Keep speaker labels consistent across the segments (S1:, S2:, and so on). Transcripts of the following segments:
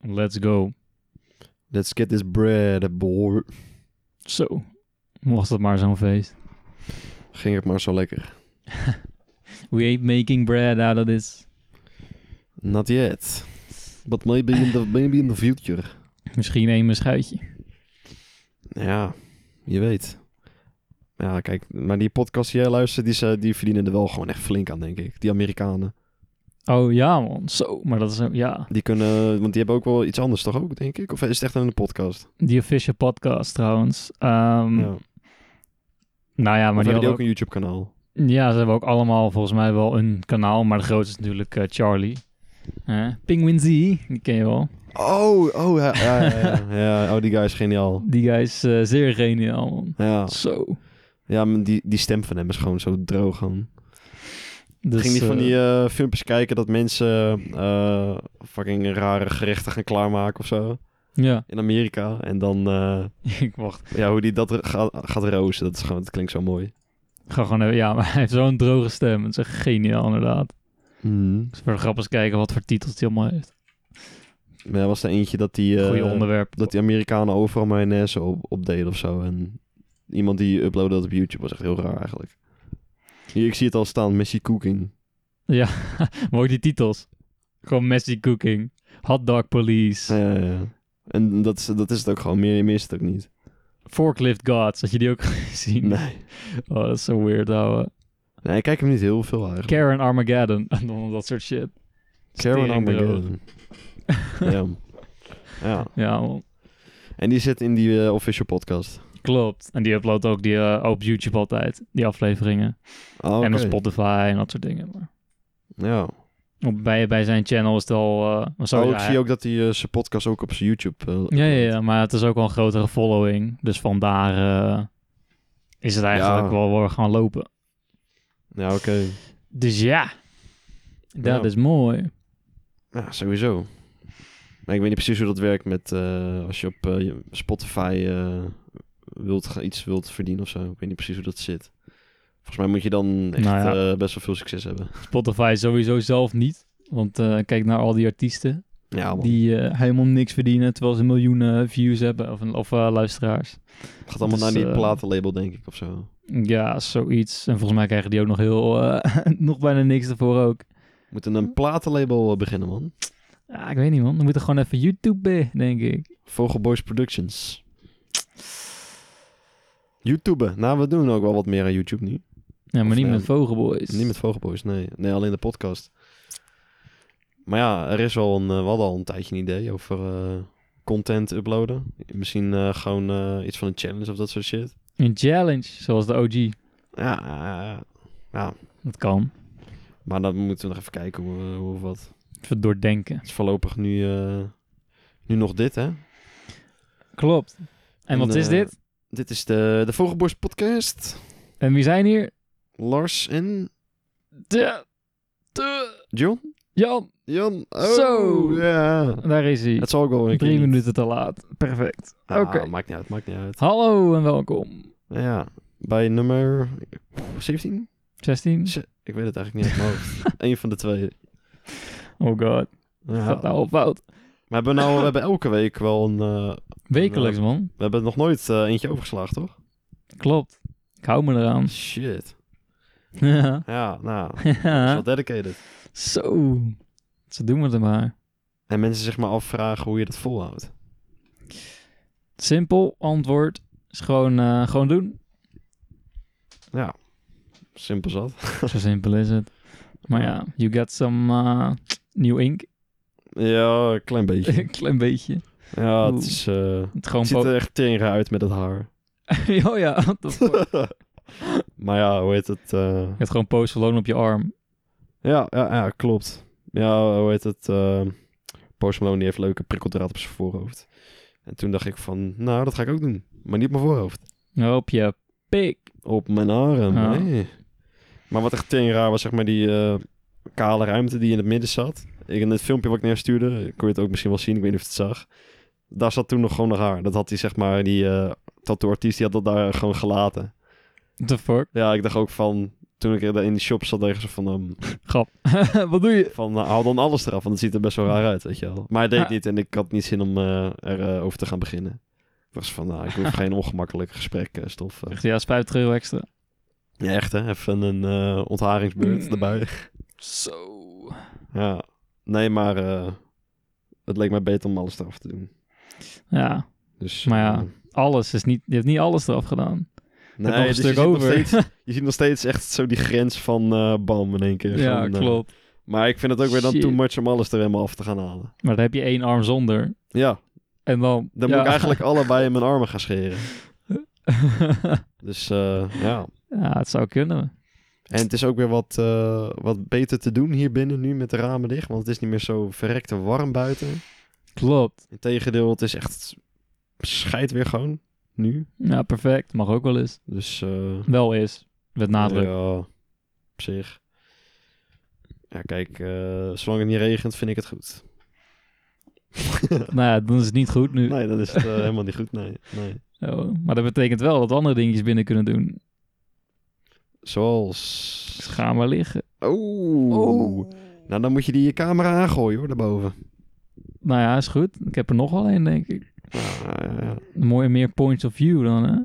S1: Let's go.
S2: Let's get this bread, boy.
S1: Zo, was dat maar zo'n feest.
S2: Ging het maar zo lekker.
S1: We ain't making bread out of this.
S2: Not yet. But maybe in the, maybe in the future.
S1: Misschien één mijn schuitje.
S2: Ja, je weet. Ja, kijk, maar die podcast die jij luistert, die, ze- die verdienen er wel gewoon echt flink aan, denk ik. Die Amerikanen.
S1: Oh ja man, zo. Maar dat is ook, ja.
S2: Die kunnen, want die hebben ook wel iets anders toch ook, denk ik? Of is het echt een podcast?
S1: Die official podcast trouwens. Ehm,
S2: ja.
S1: Nou ja, maar die
S2: hebben die
S1: hadden
S2: ook een YouTube-kanaal?
S1: Ja, ze hebben ook allemaal volgens mij wel een kanaal, maar de grootste is natuurlijk eh, Charlie. Eh, Penguin Z, die ken je wel.
S2: Oh, oh, ja, ja, ja, ja. ja. Oh, die guy is geniaal.
S1: Die guy is eh, zeer geniaal, man.
S2: Ja,
S1: Zo.
S2: ja maar die, die stem van hem is gewoon zo droog aan.
S1: Dus,
S2: Ging die van
S1: eh,
S2: die eh, filmpjes kijken dat mensen eh, fucking rare gerechten gaan klaarmaken of zo?
S1: Ja,
S2: In Amerika. En dan, eh,
S1: ik wacht.
S2: ja, hoe die dat gaat, gaat rozen, dat, is gewoon, dat klinkt zo mooi.
S1: Ik Ga gewoon even, ja, maar hij heeft zo'n droge stem. Het is echt geniaal, inderdaad.
S2: Hmm.
S1: Dus voor de grap eens kijken wat voor titels hij allemaal heeft.
S2: Maar er was er eentje dat die, eh,
S1: Goeie onderwerp.
S2: dat die Amerikanen overal mayonaise op, op deden of zo. En iemand die uploadde dat op YouTube was echt heel raar eigenlijk. Hier, ik zie het al staan, Messi Cooking.
S1: Ja, maar ook die titels. Gewoon messy cooking. Hot dog police.
S2: Ja, ja, ja. En dat is, dat is het ook gewoon, meer, meer is het ook niet.
S1: Forklift gods. Had je die ook gezien?
S2: Nee.
S1: Oh, dat is zo weird, ouwe.
S2: nee, ik kijk hem niet heel veel eigenlijk.
S1: Karen Armageddon. En dan dat soort shit.
S2: Karen
S1: Tering droog.
S2: Armageddon. ja. ja.
S1: Ja, man.
S2: En die zit in die eh, official podcast.
S1: klopt. En die uploadt ook die, eh, op YouTube altijd, die afleveringen.
S2: Oh,
S1: En op
S2: oké.
S1: Spotify en dat soort dingen. Maar
S2: Ja.
S1: op, bij, bij zijn channel is het al... eh, maar zo,
S2: Oh,
S1: ja,
S2: ik zie ook dat hij eh, zijn podcast ook op zijn YouTube... eh,
S1: Ja, ja,
S2: uploadt.
S1: ja, maar het is ook wel een grotere following. Dus vandaar eh, is het eigenlijk
S2: Ja.
S1: wel waar we gaan lopen.
S2: Ja, oké.
S1: Dus ja, dat
S2: Ja.
S1: is mooi.
S2: Ja, sowieso. Maar ik weet niet precies hoe dat werkt met eh, als je op eh, je Spotify eh, wilt, gaan- iets wilt verdienen of zo. Ik weet niet precies hoe dat zit. Volgens mij moet je dan echt
S1: Nou ja.
S2: eh, best wel veel succes hebben.
S1: Spotify sowieso zelf niet. Want eh, kijk naar al die artiesten
S2: Ja, man.
S1: die eh, helemaal niks verdienen... terwijl ze miljoenen views hebben of, of eh, luisteraars.
S2: Het gaat allemaal
S1: dus,
S2: naar die
S1: eh,
S2: platenlabel, denk ik, of zo.
S1: Ja, zoiets. En volgens mij krijgen die ook nog heel... eh, nog bijna niks ervoor ook.
S2: We moeten een platenlabel eh, beginnen, man.
S1: Ja, ik weet niet, man. We moeten gewoon even YouTube, denk ik.
S2: Vogelboys Productions. YouTube. Nou, we doen ook wel wat meer aan YouTube nu.
S1: Ja, maar
S2: Of,
S1: niet
S2: eh,
S1: met Vogelboys.
S2: Niet met Vogelboys, nee. Nee, alleen de podcast. Maar ja, er is wel een, eh, we hadden al een tijdje een idee over eh, content uploaden. Misschien eh, gewoon eh, iets van een challenge of dat soort shit.
S1: Een challenge, zoals de OG.
S2: Ja, ja, ja.
S1: Dat kan.
S2: maar dan moeten we nog even kijken hoe, eh, hoe of wat.
S1: Even doordenken.
S2: Het is voorlopig nu, eh, nu nog dit, hè?
S1: Klopt. En
S2: En,
S1: wat is
S2: eh,
S1: dit?
S2: Dit is de, de Vogelboys podcast.
S1: En wie zijn hier?
S2: Lars en
S1: De, de,
S2: John?
S1: Jan,
S2: Jan? Oh,
S1: Zo.
S2: Ja.
S1: daar is hij.
S2: Het zal ook wel een keer
S1: Drie
S2: niet.
S1: minuten te laat. Perfect.
S2: Ah,
S1: Oké.
S2: Maakt niet uit, maakt niet uit.
S1: Hallo en welkom.
S2: Ja, bij nummer 17?
S1: 16?
S2: Ze- Ik weet het eigenlijk niet uit mijn hoofd. Eén van de twee.
S1: Oh god,
S2: Ja.
S1: gaat nou op fout.
S2: Maar we hebben, nou, we hebben elke week wel een... eh,
S1: Wekelijks man.
S2: we hebben nog nooit eh, eentje overgeslagen, toch?
S1: Klopt. Ik hou me eraan.
S2: Shit.
S1: Ja.
S2: Ja, nou. Dat is wel
S1: Ja.
S2: dedicated.
S1: Zo. Ze doen we het maar.
S2: En mensen zich maar afvragen hoe je dat volhoudt.
S1: Simpel antwoord is gewoon, eh, gewoon doen.
S2: Simpel zat.
S1: Zo simpel is het. Maar ja, you got some eh, new ink.
S2: Ja, een klein beetje.
S1: Een klein beetje.
S2: Ja, het,
S1: Oeh.
S2: is, eh,
S1: Het gewoon
S2: het ziet
S1: po-
S2: er echt tering uit met het haar.
S1: oh ja, what the fuck?
S2: maar ja, hoe heet het? eh,
S1: Je hebt gewoon Post Malone op je arm.
S2: ja, ja, ja, klopt. Ja, hoe heet het? eh Post Malone die heeft leuke prikkeldraad op zijn voorhoofd. En toen dacht ik van, nou, dat ga ik ook doen. Maar niet op mijn voorhoofd.
S1: Op je pik.
S2: Op mijn arm.
S1: Ja.
S2: hé. Maar wat echt tering raar was, zeg maar, die eh, kale ruimte die in het midden zat. Ik, in het filmpje wat ik neerstuurde, eh, kon je het ook misschien wel zien, ik weet niet of je het zag. Daar zat toen nog gewoon nog haar. Dat had hij, zeg maar, die eh tattoo-artiest, die had dat daar gewoon gelaten.
S1: The fuck?
S2: Ja, ik dacht ook van, toen ik in die shop zat, tegen ze van, ehm,
S1: Grap. Wat doe je?
S2: van nou, haal dan alles eraf, want het ziet er best wel raar uit, weet je wel. Maar hij deed
S1: Ja.
S2: niet en ik had niet zin om erover over te gaan beginnen. Ik was van, nou, ik hoef geen ongemakkelijk gesprek, eh, stof. eh.
S1: Zegt hij, ja, 50 euro extra.
S2: Ja, echt hè, even een eh, ontharingsbeurt
S1: Mm.
S2: erbij.
S1: Zo.
S2: Ja, nee, maar eh, het leek mij beter om alles eraf te doen.
S1: Ja,
S2: Dus,
S1: Maar ja,
S2: eh,
S1: alles is niet... Je hebt niet alles eraf gedaan.
S2: nee,
S1: nog een
S2: dus je
S1: stuk
S2: ziet nog
S1: over.
S2: steeds- je ziet nog steeds echt zo die grens van eh, bam in één keer.
S1: ja,
S2: Van, eh,
S1: klopt.
S2: maar ik vind het ook weer dan
S1: Shit.
S2: too much om alles er helemaal af te gaan halen.
S1: Maar dan heb je één arm zonder.
S2: Ja,
S1: En dan...
S2: dan
S1: ja.
S2: moet ik eigenlijk allebei in mijn armen gaan scheren. Dus eh, ja,
S1: ja, het zou kunnen.
S2: En het is ook weer wat, eh, wat beter te doen hier binnen nu met de ramen dicht. Want het is niet meer zo verrekt en warm buiten.
S1: Klopt.
S2: Integendeel, het is echt scheid weer gewoon nu.
S1: Ja, perfect. Mag ook wel eens.
S2: Dus eh
S1: Wel eens. Met nadruk.
S2: ja, op zich. Ja, kijk, eh, zolang het niet regent vind ik het goed.
S1: Nou ja, dan is het niet goed nu.
S2: nee, dan is het eh, helemaal niet goed. Nee, nee.
S1: Oh, maar dat betekent wel dat we andere dingetjes binnen kunnen doen. Dus
S2: Zoals...
S1: ga maar liggen.
S2: Oh. Nou, dan moet je die je camera aangooien hoor, daarboven.
S1: Nou ja, is goed. Ik heb er nog wel één, denk ik.
S2: Nou, Ja, ja, ja.
S1: Mooi meer points of view dan, hè?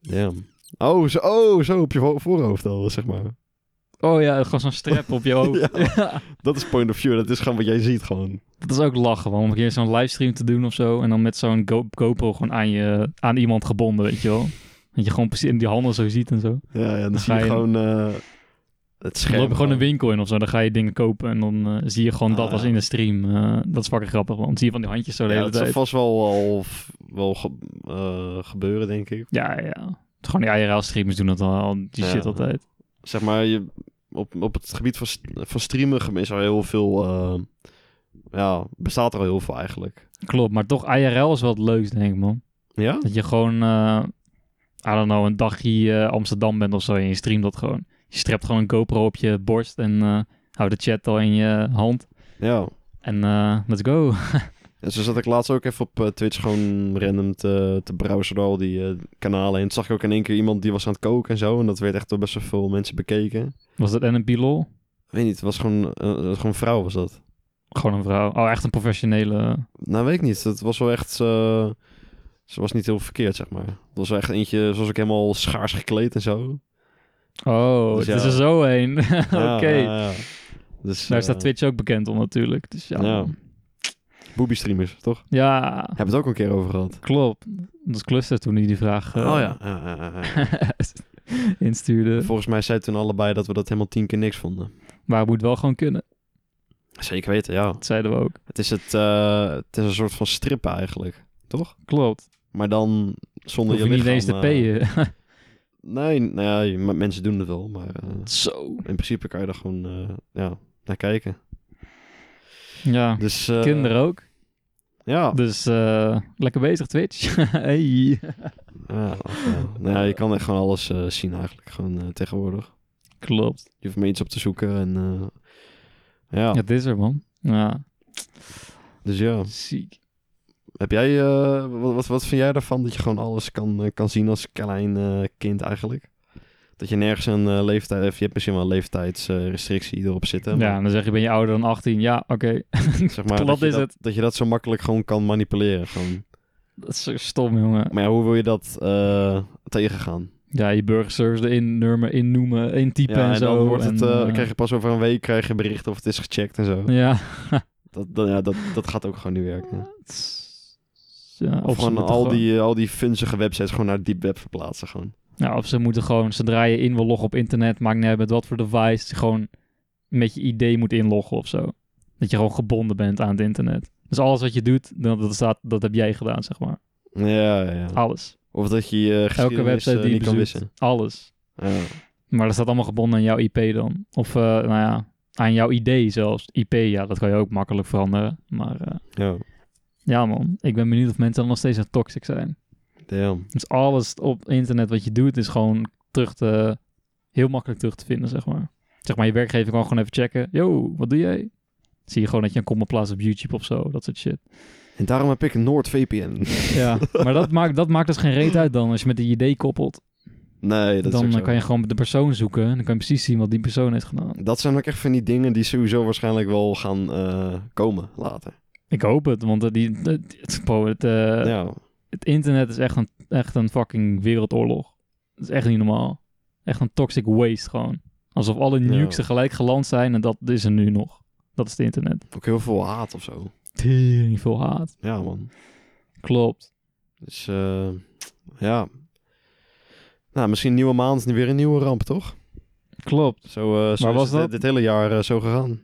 S2: Damn. Oh zo, oh, zo op je vo- voorhoofd al, zeg maar.
S1: Oh ja, gewoon zo'n strap op je hoofd.
S2: Ja. Dat is point of view. Dat is gewoon wat jij ziet gewoon.
S1: Dat is ook lachen, man. Om een keer zo'n livestream te doen of zo. En dan met zo'n Go- GoPro gewoon aan, je, aan iemand gebonden, weet je wel. Dat je gewoon precies in die handen zo ziet en zo.
S2: Ja, ja dan, zie
S1: ga
S2: je,
S1: je-
S2: gewoon eh, het
S1: Dan
S2: scherm.
S1: loop je gewoon een winkel in of zo. Dan ga je dingen kopen en dan eh, zie je gewoon dat
S2: Ah.
S1: als in de stream. Eh, dat is fucking grappig, want zie je van die handjes zo de
S2: Ja,
S1: hele
S2: dat zal
S1: tijd.
S2: vast wel, al, f- wel ge- eh, gebeuren, denk ik.
S1: Ja, ja. Gewoon die IRL-streamers doen dat al, die
S2: Ja.
S1: shit altijd.
S2: Zeg maar, je, op, op het gebied van, st- van streamen gem- is er heel veel... eh, ja, bestaat er al heel veel eigenlijk.
S1: Klopt, maar toch IRL is wel het leukst, denk ik, man.
S2: Ja?
S1: Dat je gewoon, eh I don't know, een dagje eh, Amsterdam bent of zo en je streamt dat gewoon. Je strept gewoon een GoPro op je borst en eh houdt de chat al in je hand.
S2: Ja.
S1: En eh, let's go.
S2: En zo zat ik laatst ook even op eh, Twitch gewoon random te, te browsen door al die eh, kanalen. En toen zag ik ook in één keer iemand die was aan het koken en zo. En dat werd echt door best wel veel mensen bekeken.
S1: Was dat NMP lol?
S2: Ik weet niet, het was gewoon, eh, gewoon een vrouw was dat.
S1: Gewoon een vrouw. Oh, echt een professionele.
S2: Nou, weet ik niet. Het was wel echt... eh, ze was niet heel verkeerd, zeg maar. Het was wel echt eentje... Ze was ook helemaal schaars gekleed en zo.
S1: Oh,
S2: Dus
S1: het is
S2: ja.
S1: er zo heen. Oké. Nou
S2: Ja, ja, ja. Dus,
S1: Daar
S2: eh,
S1: staat Twitch ook bekend om natuurlijk. Dus ja.
S2: Ja.
S1: Ja,
S2: Booby streamers, toch? Hebben we het ook een keer over gehad.
S1: klopt. Dat was Cluster toen hij die vraag eh,
S2: Oh ja, ja, ja.
S1: instuurde.
S2: Volgens mij zei toen allebei dat we dat helemaal tien keer niks vonden.
S1: Maar het moet wel gewoon kunnen.
S2: Zeker weten, ja.
S1: Dat zeiden we ook.
S2: Het is, het, eh, het is een soort van strippen eigenlijk, toch?
S1: Klopt.
S2: Maar dan zonder
S1: Hoef je
S2: je
S1: niet
S2: lichaam...
S1: eens te
S2: eh,
S1: payen.
S2: nee, nou ja, je- maar mensen doen het wel, maar... eh,
S1: Zo.
S2: in principe kan je daar gewoon eh, ja, naar kijken.
S1: Ja.
S2: Dus, eh, ah.
S1: Kinderen ook.
S2: Ja.
S1: Dus eh, lekker bezig Twitch. hey.
S2: Ja, of, ja. Nou ja, je kan echt gewoon alles eh, zien eigenlijk, gewoon eh, tegenwoordig.
S1: Klopt.
S2: Je hoeft maar iets op te zoeken en eh, ja,
S1: Het is er man. Ja.
S2: dus ja.
S1: Ziek.
S2: Heb jij, eh, wat, wat, wat vind jij daarvan dat je gewoon alles kan, eh, kan zien als klein eh, kind eigenlijk? Dat je nergens een eh, leeftijd, of je hebt misschien wel een leeftijdsrestrictie eh, erop zitten.
S1: Ja,
S2: maar
S1: en dan zeg je ben je ouder dan 18. Ja, oké.
S2: zeg maar
S1: klopt
S2: dat, je
S1: is
S2: dat,
S1: het.
S2: dat je dat zo makkelijk gewoon kan manipuleren. Gewoon.
S1: Dat is zo stom jongen.
S2: Maar ja, hoe wil je dat eh, tegengaan?
S1: Ja, je burgerservice erin nummer, innoemen, intypen
S2: Ja,
S1: en
S2: en
S1: zo.
S2: dan wordt het,
S1: en,
S2: eh,
S1: eh,
S2: krijg je pas over een week krijg je bericht of het is gecheckt en zo.
S1: Ja.
S2: Dat, dat, ja, dat, dat gaat ook gewoon niet werken.
S1: ja
S2: Of
S1: ze
S2: gewoon
S1: moeten
S2: al die, eh, al die funzige websites gewoon naar deep web verplaatsen. Gewoon.
S1: Ja, of ze moeten gewoon, zodra je in wil loggen op internet, maakt niet uit met wat voor device, gewoon met je idee moet inloggen of zo. Dat je gewoon gebonden bent aan het internet. Dus alles wat je doet, dat, dat, staat, dat heb jij gedaan, zeg maar.
S2: Ja, ja, ja.
S1: Alles.
S2: Of dat je je
S1: Elke
S2: geschiedenis
S1: website
S2: eh,
S1: die je
S2: niet kan
S1: bezoekt.
S2: wissen.
S1: Alles.
S2: Ja.
S1: Maar dat staat allemaal gebonden aan jouw IP dan. Of, eh, nou ja, aan jouw idee zelfs. IP, ja, dat kan je ook makkelijk veranderen. Maar eh,
S2: ja,
S1: ja man, ik ben benieuwd of mensen dan nog steeds zo toxic zijn.
S2: damn.
S1: Dus alles op internet wat je doet is gewoon terug te, heel makkelijk terug te vinden, zeg maar. Zeg maar, je werkgever kan gewoon even checken. Yo, wat doe jij? Zie je gewoon dat je een comment plaatst op YouTube of zo, dat soort shit.
S2: En daarom heb ik een NoordVPN.
S1: Ja, maar dat maakt, dat maakt dus geen reet uit dan als je met die idee koppelt.
S2: Nee, dat is
S1: dan
S2: ook
S1: eh,
S2: zo.
S1: kan je gewoon de persoon zoeken. Dan kan je precies zien wat die persoon heeft gedaan.
S2: Dat zijn ook echt van die dingen die sowieso waarschijnlijk wel gaan eh, komen later.
S1: Ik hoop het, want eh, die, het, het- bro, het, eh,
S2: ja.
S1: het internet is echt een, echt een fucking wereldoorlog. Dat is echt niet normaal. Echt een toxic waste gewoon. Alsof alle
S2: Ja.
S1: nukes tegelijk geland zijn en dat is er nu nog. Dat is het internet.
S2: Ook heel veel haat of zo.
S1: Tering veel haat.
S2: Ja, man.
S1: Klopt.
S2: Dus eh, ja. Nou, misschien nieuwe maand, weer een nieuwe ramp, toch?
S1: Klopt.
S2: Zo, eh, zo
S1: Maar
S2: is
S1: was
S2: het, eh,
S1: dat-
S2: dit hele jaar eh, zo gegaan.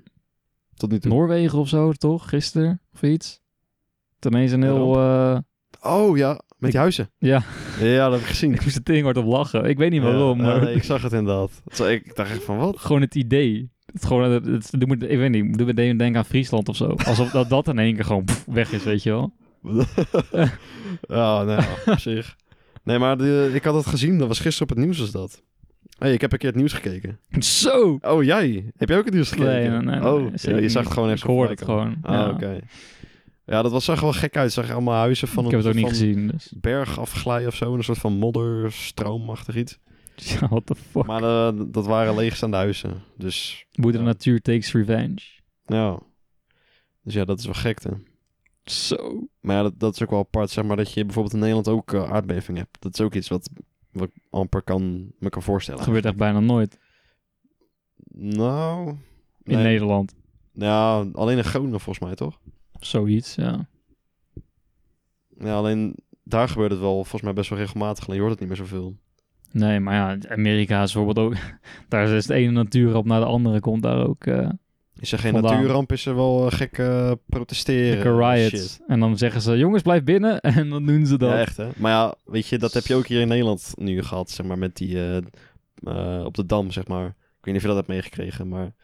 S2: Tot nu toe.
S1: Noorwegen of zo, toch? Gisteren of iets. Toen ineens een heel... eh,
S2: Oh ja, met
S1: Ik-
S2: die huizen.
S1: ja,
S2: Ja, dat heb ik gezien.
S1: ik moest er tering hard op lachen. Ik weet niet waarom,
S2: Ja,
S1: maar...
S2: eh, nee, ik zag het inderdaad. Zo, ik dacht echt van, wat?
S1: gewoon het idee. Het is gewoon, het, het- doe me, ik weet niet, doe me denken aan Friesland of zo. Alsof dat, dat in één keer gewoon pff, weg is, weet je wel.
S2: ja, nou, ja, op zich. Nee, maar de- ik had het gezien. Dat was gisteren op het nieuws, was dat. hey, ik heb een keer het nieuws gekeken.
S1: Zo!
S2: Oh, jij? Heb jij ook het nieuws gekeken?
S1: Nee, nee, nee,
S2: oh,
S1: nee,
S2: ja,
S1: zeker
S2: je
S1: niet.
S2: zag het gewoon echt
S1: Ik hoorde het gewoon.
S2: Ah,
S1: ja.
S2: oké. Ja, dat was, zag er wel gek uit. Het zag allemaal huizen van
S1: ik heb het ook niet
S2: van
S1: gezien, dus.
S2: berg afglijden of zo. Een soort van modder, stroomachtig iets.
S1: Ja, what the fuck.
S2: Maar eh, dat waren leegstaande huizen. Dus
S1: Moeder
S2: ja.
S1: Natuur takes revenge.
S2: ja. Dus ja, dat is wel gekte.
S1: Zo.
S2: Maar ja, dat, dat is ook wel apart, zeg maar, dat je bijvoorbeeld in Nederland ook eh, aardbeving hebt. Dat is ook iets wat, wat ik amper kan, me kan voorstellen.
S1: Dat gebeurt echt bijna nooit
S2: Nou,
S1: in
S2: nee.
S1: Nederland.
S2: Ja, alleen in Groningen volgens mij, toch?
S1: Zoiets, ja.
S2: Ja, alleen daar gebeurt het wel volgens mij best wel regelmatig, alleen je hoort het niet meer zoveel.
S1: Nee, maar ja, Amerika is bijvoorbeeld ook... daar is de ene natuur op naar de andere komt daar ook... eh,
S2: Is er geen
S1: Vandaan.
S2: natuurramp, is er wel eh, gekke protesteren.
S1: Gekke
S2: en
S1: riots.
S2: shit.
S1: En dan zeggen ze, jongens, blijf binnen. En dan doen ze dat.
S2: Ja, echt hè. Maar ja, weet je, dat heb je ook hier in Nederland nu gehad, zeg maar, met die eh, eh, op de Dam, zeg maar. Ik weet niet of je dat hebt meegekregen, maar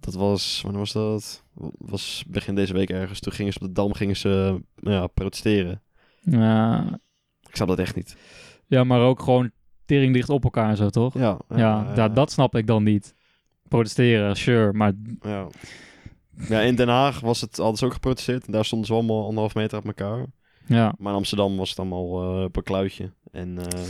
S2: dat was, wanneer was dat? Was begin deze week ergens. Toen gingen ze op de Dam, gingen ze nou ja, protesteren.
S1: Ja,
S2: Ik snap dat echt niet.
S1: Ja, maar ook gewoon tering dicht op elkaar en zo, toch? Ja,
S2: Ja, eh,
S1: da- dat snap ik dan niet. Protesteren, sure, maar
S2: Ja. Ja, in Den Haag was het, hadden ze ook geprotesteerd. En daar stonden ze allemaal anderhalf meter uit elkaar.
S1: ja.
S2: Maar in Amsterdam was het allemaal eh, op een kluitje. En eh,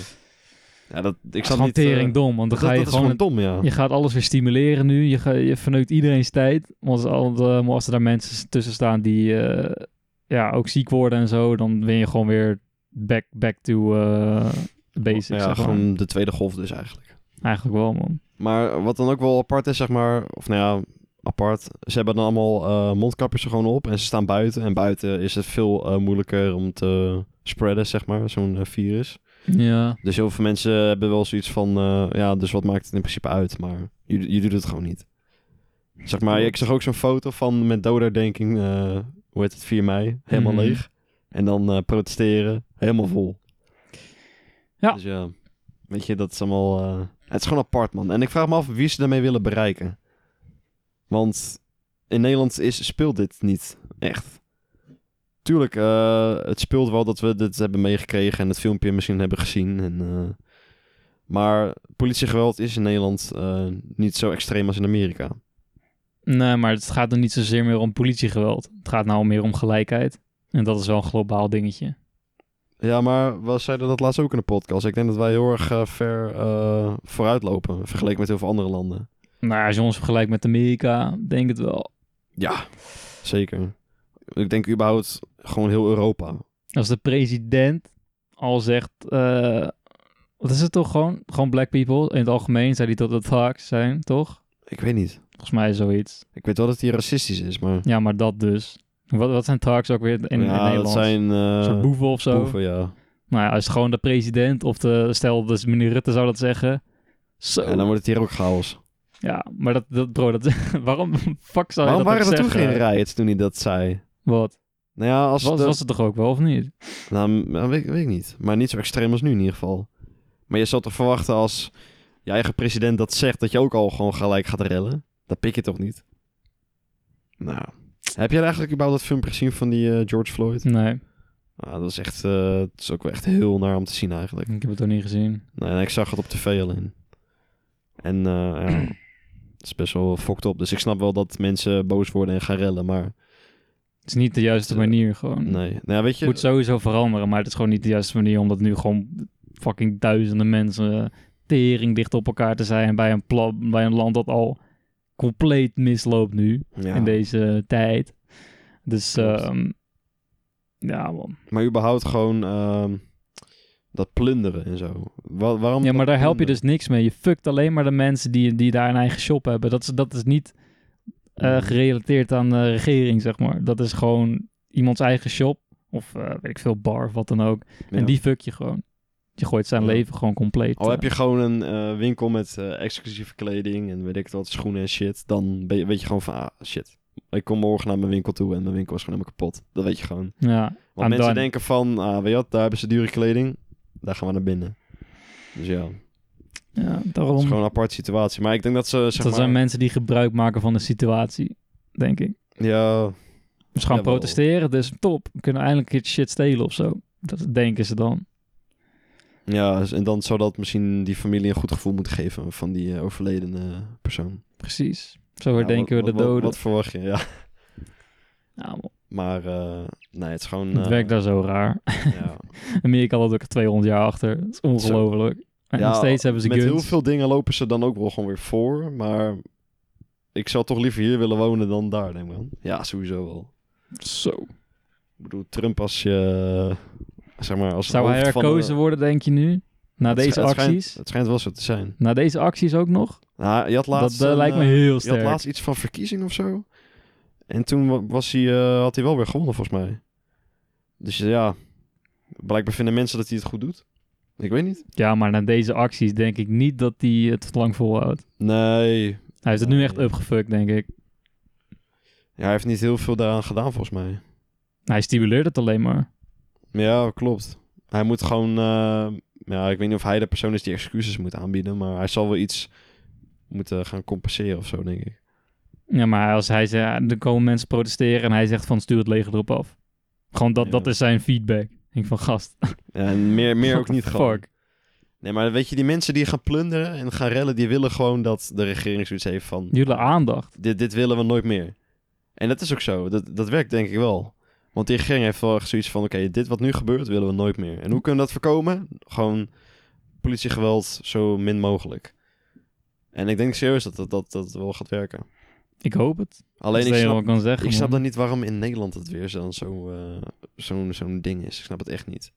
S2: ja, dat, ik
S1: Ik
S2: snap
S1: gewoon
S2: niet... eh,
S1: tering dom, want dan
S2: dat,
S1: ga je
S2: dat is
S1: gewoon...
S2: gewoon dom, ja.
S1: Je gaat alles weer stimuleren nu. Je, ga, je verneukt iedereen's tijd. Want als, eh, als er daar mensen tussen staan die eh, ja, ook ziek worden en zo, dan ben je gewoon weer back, back to eh, basics.
S2: ja,
S1: zeg maar.
S2: gewoon de tweede golf dus eigenlijk.
S1: Eigenlijk wel, man.
S2: Maar wat dan ook wel apart is, zeg maar, of nou ja, apart. Ze hebben dan allemaal eh, mondkapjes er gewoon op en ze staan buiten. En buiten is het veel eh, moeilijker om te spreaden, zeg maar, zo'n eh, virus.
S1: Ja.
S2: Dus heel veel mensen hebben wel zoiets van, eh, ja, dus wat maakt het in principe uit? Maar je, je doet het gewoon niet. Zeg maar, ik zag ook zo'n foto van met doderdenking, eh hoe heet het, 4 mei, helemaal
S1: Mhm.
S2: leeg. En dan eh, protesteren, helemaal vol.
S1: Ja.
S2: Dus ja, weet je, dat is allemaal... eh, het is gewoon apart, man. En ik vraag me af wie ze daarmee willen bereiken. Want in Nederland is, speelt dit niet echt. Tuurlijk, eh, het speelt wel dat we dit hebben meegekregen en het filmpje misschien hebben gezien. En, eh, maar politiegeweld is in Nederland eh, niet zo extreem als in Amerika.
S1: Nee, maar het gaat er niet zozeer meer om politiegeweld. Het gaat nou meer om gelijkheid. En dat is wel een globaal dingetje.
S2: Ja, maar we zeiden dat laatst ook in de podcast. Ik denk dat wij heel erg eh, ver eh, vooruit lopen, vergeleken met heel veel andere landen.
S1: Nou, als je ons vergelijkt met Amerika, denk het wel.
S2: Ja, zeker. Ik denk überhaupt gewoon heel Europa.
S1: Als de president al zegt, eh, wat is het toch gewoon? Gewoon black people in het algemeen, zei hij dat het hacks zijn, toch?
S2: Ik weet niet.
S1: Volgens mij zoiets.
S2: Ik weet wel dat hij racistisch is, maar...
S1: Ja, maar dat dus. Wat, wat zijn hacks ook weer in, in
S2: ja,
S1: Nederland?
S2: dat zijn... eh,
S1: Een soort boeven of zo.
S2: boeven, ja.
S1: Nou ja, als gewoon de president of de, stel dus meneer Rutte zou dat zeggen. Zo.
S2: En dan wordt het hier ook chaos.
S1: Ja, maar dat, dat bro, dat, waarom fuck zou je
S2: Waarom
S1: dat
S2: waren
S1: ook
S2: er toen
S1: zeggen?
S2: geen riots toen hij dat zei?
S1: Wat?
S2: Nou ja, als...
S1: Was,
S2: de-
S1: was het toch ook wel, of niet?
S2: Nou, m- nou, weet, ik- weet ik niet. Maar niet zo extreem als nu in ieder geval. Maar je zou toch verwachten als je eigen president dat zegt... dat je ook al gewoon gelijk gaat rellen? Dat pik je toch niet? Nou... Heb jij eigenlijk überhaupt dat filmpje gezien van die eh, George Floyd?
S1: Nee,
S2: Ah, dat is echt... eh, het is ook wel echt heel naar om te zien eigenlijk.
S1: ik heb het nog niet gezien.
S2: Nee, nee, ik zag het op tv alleen. En eh, ja, het is best wel fokt op. Dus ik snap wel dat mensen boos worden en gaan rellen, maar
S1: Het is niet de juiste
S2: Eh,
S1: manier gewoon.
S2: nee. Nou ja, weet je,
S1: Het moet sowieso veranderen, maar het is gewoon niet de juiste manier om dat nu gewoon fucking duizenden mensen tering dicht op elkaar te zijn bij een, pla- bij een land dat al compleet misloopt nu
S2: Ja.
S1: in deze tijd. Dus
S2: Klopt.
S1: ehm, ja, man.
S2: Maar überhaupt gewoon ehm, dat plunderen en zo. Wa- waarom
S1: Ja, maar
S2: dat
S1: daar help je
S2: plunderen?
S1: dus niks mee. Je fuckt alleen maar de mensen die, die daar een eigen shop hebben. Dat is, dat is niet eh, gerelateerd aan de regering, zeg maar. Dat is gewoon iemands eigen shop. Of eh, weet ik veel, bar of wat dan ook.
S2: Ja.
S1: En die fuck je gewoon. Je gooit zijn
S2: Ja.
S1: leven gewoon compleet.
S2: Al
S1: eh,
S2: heb je gewoon een eh, winkel met eh, exclusieve kleding en weet ik het wat, schoenen en shit. Dan ben je- weet je gewoon van, ah, shit. Ik kom morgen naar mijn winkel toe en mijn winkel is gewoon helemaal kapot. Dat weet je gewoon.
S1: Ja,
S2: Want
S1: I'm
S2: mensen
S1: done.
S2: denken van, ah, weet je wat, daar hebben ze dure kleding. Daar gaan we naar binnen. Dus ja,
S1: ja,
S2: het is
S1: daarom.
S2: gewoon een aparte situatie. Maar ik denk dat ze, zeg
S1: Dat
S2: maar...
S1: zijn mensen die gebruik maken van de situatie, denk ik.
S2: Ja,
S1: Ze gaan
S2: Jawel.
S1: protesteren, dus top. We kunnen eindelijk een keer shit stelen of zo. Dat denken ze dan.
S2: ja, en dan zou dat misschien die familie een goed gevoel moeten geven van die eh, overledene persoon.
S1: Precies. Zo
S2: Ja,
S1: herdenken
S2: wat-
S1: we de
S2: wat- wat-
S1: doden.
S2: Wat verwacht je, ja.
S1: Ja, man,
S2: Maar, eh, nee, het is gewoon...
S1: het
S2: eh,
S1: werkt daar zo raar.
S2: ja.
S1: Amerika loopt ook 200 jaar achter. Dat is ongelooflijk. En
S2: Ja,
S1: nog steeds hebben ze
S2: Dus Met
S1: guns.
S2: heel veel dingen lopen ze dan ook wel gewoon weer voor. Maar ik zou toch liever hier willen wonen dan daar, denk ik wel. Ja, sowieso wel.
S1: Zo.
S2: Ik bedoel, Trump als je... eh, Zeg maar, als
S1: Zou hij
S2: hoofd van de-
S1: herkozen worden, denk je nu? Na
S2: Het
S1: deze
S2: schi- het schijnt-
S1: acties?
S2: Het schijnt wel zo te zijn.
S1: Na deze acties ook nog?
S2: Nou, je had laatst
S1: dat eh,
S2: een,
S1: lijkt me
S2: eh,
S1: heel
S2: Je had
S1: sterk.
S2: laatst iets van verkiezing of zo. En toen wa- was hij, eh, had hij wel weer gewonnen, volgens mij. Dus ja, blijkbaar vinden mensen dat hij het goed doet. Ik weet niet.
S1: Ja, maar na deze acties denk ik niet dat hij het lang volhoudt.
S2: Nee,
S1: Hij is het nu
S2: Nee.
S1: echt upgefuckt, denk ik.
S2: ja, hij heeft niet heel veel daaraan gedaan, volgens mij.
S1: Hij stimuleert het alleen maar.
S2: Maar Ja, klopt. Hij moet gewoon... eh, ja, ik weet niet of hij de persoon is die excuses moet aanbieden. Maar hij zal wel iets moeten gaan compenseren of zo, denk ik.
S1: Ja, maar als hij zegt, er komen mensen protesteren en hij zegt van stuur het leger erop af. Gewoon dat,
S2: Ja.
S1: dat is zijn feedback. Ik denk van gast.
S2: Ja, en meer, meer
S1: what
S2: ook
S1: the
S2: niet gewoon.
S1: fuck?
S2: Nee, maar weet je, die mensen die gaan plunderen en gaan rellen, die willen gewoon dat de regering zoiets heeft van...
S1: Jullie aandacht.
S2: Dit, dit willen we nooit meer. En dat is ook zo. Dat, dat werkt denk ik wel. Want die regering heeft wel echt zoiets van... Oké, dit wat nu gebeurt, willen we nooit meer. En hoe kunnen we dat voorkomen? Gewoon politiegeweld zo min mogelijk. En ik denk serieus dat dat, dat, dat wel gaat werken.
S1: Ik hoop het.
S2: Alleen
S1: dat
S2: ik
S1: is het enige
S2: snap,
S1: wat ik kan zeggen.
S2: ik snap
S1: man.
S2: dan niet waarom in Nederland het weer zo'n zo, eh, zo'n zo'n ding is. Ik snap het echt niet.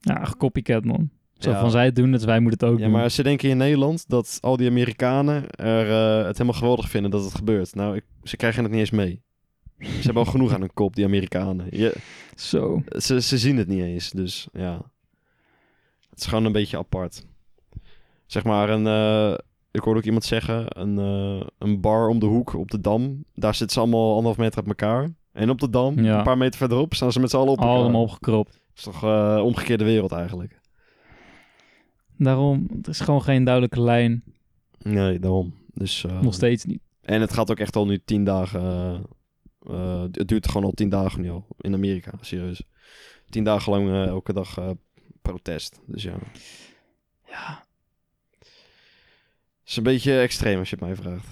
S1: Ja, copycat man. Zo
S2: Ja.
S1: van zij het doen, dus wij moeten het ook
S2: Ja,
S1: doen.
S2: maar ze denken in Nederland dat al die Amerikanen er, eh, het helemaal geweldig vinden dat het gebeurt. Nou, ik, ze krijgen het niet eens mee. Ze hebben al genoeg aan hun kop, die Amerikanen. Je,
S1: Zo.
S2: ze, ze zien het niet eens, dus ja. Het is gewoon een beetje apart. Zeg maar, een, eh, ik hoorde ook iemand zeggen, een, eh, een bar om de hoek op de Dam. Daar zitten ze allemaal anderhalf meter uit elkaar. En op de Dam,
S1: Ja.
S2: een paar meter verderop, staan ze met z'n allen op elkaar.
S1: Allemaal opgekropt.
S2: Het is toch eh omgekeerde wereld eigenlijk.
S1: Daarom, er is gewoon geen duidelijke lijn.
S2: Nee, daarom. Dus, eh,
S1: Nog steeds niet.
S2: En het gaat ook echt al nu tien dagen. eh, eh, het duurt gewoon al tien dagen nu al in Amerika, serieus. Tien dagen lang eh, elke dag eh, protest. Dus ja. Het
S1: Ja.
S2: is een beetje extreem als je het mij vraagt.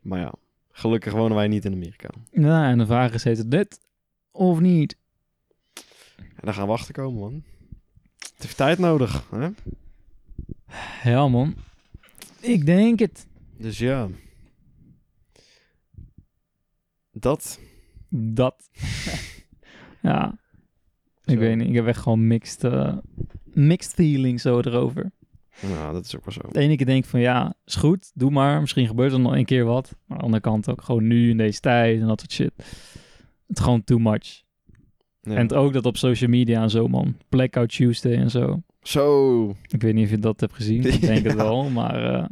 S2: Maar ja, gelukkig wonen wij niet in Amerika.
S1: Nou, en de vraag is, heet het dit of niet?
S2: En daar gaan we achter komen, man. Het heeft tijd nodig, hè?
S1: Ja, man. Ik denk het.
S2: Dus ja. Dat.
S1: Dat. ja. Ik
S2: Zo.
S1: weet niet, ik heb echt gewoon mixed, eh, mixed feelings zo erover.
S2: Nou, dat is ook wel zo.
S1: De ene keer denk ik van ja, is goed, doe maar. Misschien gebeurt er nog een keer wat. Maar aan de andere kant ook gewoon nu in deze tijd en dat soort shit. Het is gewoon too much.
S2: Ja.
S1: En ook dat op social media en zo, man. Blackout Tuesday en zo.
S2: Zo.
S1: Ik weet niet of je dat hebt gezien. Ik denk het
S2: Ja.
S1: wel, maar eh,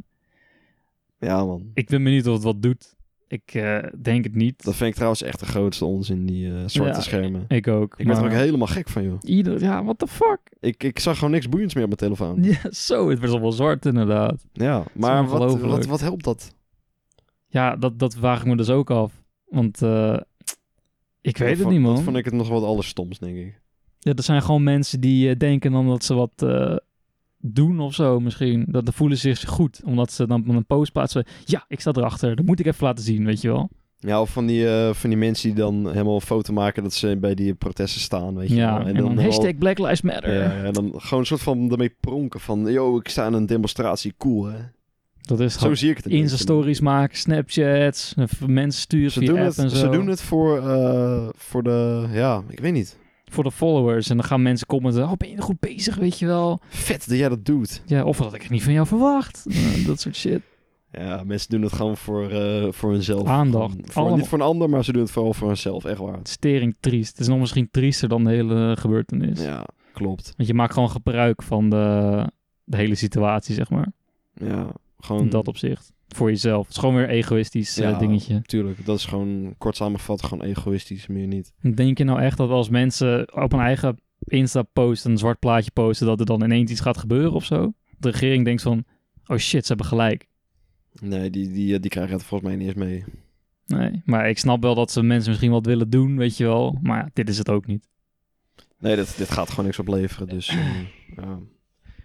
S2: Ja, man.
S1: ik ben benieuwd of het wat doet. Ik eh, denk het niet.
S2: Dat vind ik trouwens echt de grootste onzin, die eh, zwarte
S1: Ja.
S2: schermen.
S1: Ik ook.
S2: Ik werd er
S1: maar
S2: ook helemaal gek van, joh.
S1: Ieder, ja, what the fuck?
S2: Ik, ik zag gewoon niks boeiends meer op mijn telefoon.
S1: Ja, zo, het werd allemaal zwart inderdaad.
S2: Ja, maar wat,
S1: ongelooflijk.
S2: wat, wat helpt dat?
S1: Ja, dat, dat vraag ik me dus ook af. Want eh, ik weet
S2: dat
S1: het
S2: vond-
S1: niet, man.
S2: Dat vond ik het nog wat allerstoms, denk ik.
S1: Ja, dat zijn gewoon mensen die eh, denken dan dat ze wat eh, doen of zo misschien. Dat dan voelen ze zich goed, omdat ze dan een post plaatsen. Ja, ik sta erachter. Dat moet ik even laten zien, weet je wel.
S2: Ja, of van die, eh, van die mensen die dan helemaal een foto maken dat ze bij die protesten staan, weet je
S1: ja,
S2: wel.
S1: en, dan,
S2: wel-
S1: hashtag Black Lives Matter.
S2: Ja, en dan gewoon een soort van daarmee pronken van... Yo, ik sta aan een demonstratie, cool hè.
S1: Dat is
S2: Zo
S1: gewoon
S2: zie ik het. een beetje.
S1: Insta-stories maken, Snapchats, en v- mensen sturen
S2: Dus Ze
S1: via
S2: doen,
S1: app
S2: het,
S1: en zo.
S2: ze doen het voor, eh, voor de... Ja, ik weet niet.
S1: Voor de followers. En dan gaan mensen commenten, oh, ben je goed bezig, weet je wel.
S2: Vet dat jij dat doet.
S1: Ja, of dat had ik het niet van jou verwacht. Nou, dat soort shit.
S2: Ja, mensen doen het gewoon voor, eh, voor hunzelf.
S1: Aandacht.
S2: Gewoon Voor,
S1: Allemaal.
S2: niet voor een ander, maar ze doen het vooral voor hunzelf. Echt waar.
S1: Het is tering triest. Het is nog misschien triester dan de hele gebeurtenis.
S2: Ja, klopt.
S1: Want je maakt gewoon gebruik van de, de hele situatie, zeg maar.
S2: Ja,
S1: In
S2: gewoon...
S1: dat opzicht. Voor jezelf. Het is gewoon weer een egoïstisch eh,
S2: Ja.
S1: dingetje.
S2: Tuurlijk, dat is gewoon kort samengevat gewoon egoïstisch, meer niet.
S1: Denk je nou echt dat als mensen op hun eigen Insta-post een zwart plaatje posten, dat er dan ineens iets gaat gebeuren of zo? De regering denkt van, oh shit, ze hebben gelijk.
S2: Nee, die, die, eh, die krijgen het volgens mij niet eens mee.
S1: Nee, maar ik snap wel dat ze mensen misschien wat willen doen, weet je wel. Maar ja, dit is het ook niet.
S2: Nee, dit, dit gaat gewoon niks opleveren, dus... eh, ja.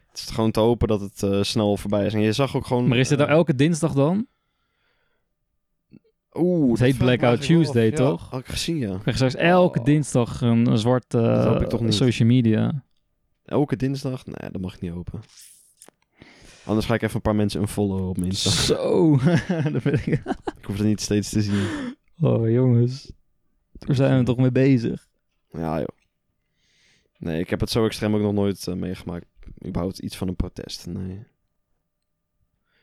S2: Het is gewoon te hopen dat het eh, snel voorbij is. En je zag ook gewoon...
S1: Maar is dit
S2: eh,
S1: nou elke dinsdag dan?
S2: Oeh,
S1: Het heet
S2: dat vraag ik me
S1: Blackout
S2: eigenlijk wel af.
S1: Tuesday,
S2: Ja,
S1: toch?
S2: Had ik gezien, ja.
S1: Ik krijg straks elke
S2: Oh.
S1: dinsdag een, een zwart eh,
S2: Dat hoop ik toch niet.
S1: social media.
S2: Elke dinsdag? Nee, dat mag ik niet open. Anders ga ik even een paar mensen unfollow op mijn Insta.
S1: Zo, dat ben ik...
S2: ik hoef dat niet steeds te zien.
S1: Oh jongens, daar zijn we toch mee bezig.
S2: Ja, joh. Nee, ik heb het zo extreem ook nog nooit eh, meegemaakt. Überhaupt iets van een protest, nee.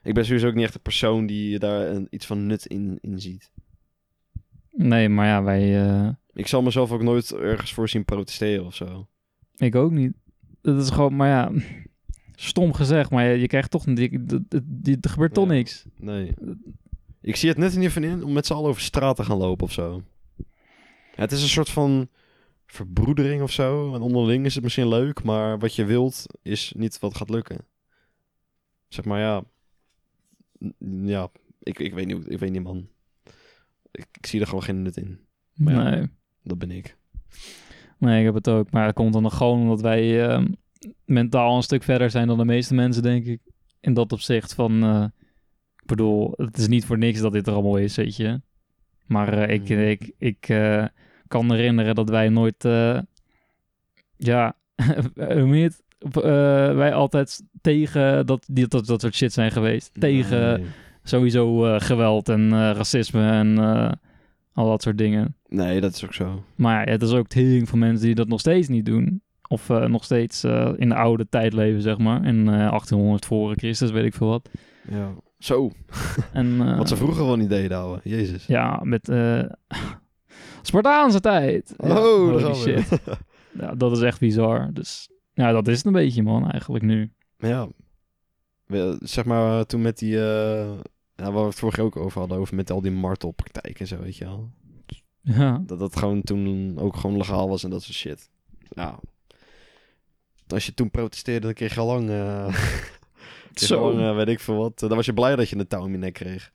S2: Ik ben sowieso ook niet echt een persoon die daar een, iets van nut in, in ziet.
S1: Nee, maar ja, wij... eh,
S2: Ik zal mezelf ook nooit ergens voor zien protesteren of zo.
S1: Ik ook niet. Dat is gewoon, maar ja, stom gezegd, maar je, je krijgt toch, je, er gebeurt toch
S2: Ja.
S1: niks.
S2: Nee. Ik zie het net er niet van in om met z'n allen over straat te gaan lopen of zo. Ja, het is een soort van verbroedering of zo. En onderling is het misschien leuk, maar wat je wilt is niet wat gaat lukken. Zeg maar ja. N- Ja, ik, ik weet niet, hoe- ik weet niet man. Ik, ik zie er gewoon geen nut in. Maar ja.
S1: Nee,
S2: Dat ben ik.
S1: nee, ik heb het ook. Maar dat komt dan gewoon omdat wij ehm, mentaal een stuk verder zijn dan de meeste mensen, denk ik. In dat opzicht van, eh, ik bedoel, het is niet voor niks dat dit er allemaal is, weet je. Maar eh, ik,
S2: Mhm.
S1: ik, ik eh, kan herinneren dat wij nooit, eh, ja, hoe heet het? Op, eh, wij altijd tegen dat, die- dat, dat soort shit zijn geweest. Tegen...
S2: Nee.
S1: sowieso eh, geweld en eh, racisme en eh, al dat soort dingen.
S2: Nee, dat is ook zo.
S1: Maar ja, het is ook tering van mensen die dat nog steeds niet doen. Of eh, nog steeds eh, in de oude tijd leven, zeg maar. In eh, 1800 voor Christus, weet ik veel wat.
S2: Ja. Zo,
S1: En, eh,
S2: wat ze vroeger wel niet deden, ouwe. Jezus.
S1: Ja, met... eh, Spartaanse tijd! Ja,
S2: oh,
S1: holy
S2: daar gaan we.
S1: Ja, dat is echt bizar. Dus ja, dat is het een beetje, man, eigenlijk nu.
S2: Ja. We- Zeg maar eh, toen met die... eh ja, waar we het vorige keer ook over hadden, over met al die martelpraktijken en zo, weet je wel.
S1: Ja,
S2: Dat dat gewoon toen ook gewoon legaal was en dat soort shit. Nou, als je toen protesteerde, dan kreeg je al lang... eh, kreeg je
S1: Zo.
S2: al lang, eh, weet ik veel wat. Dan was je blij dat je een touw in je nek kreeg.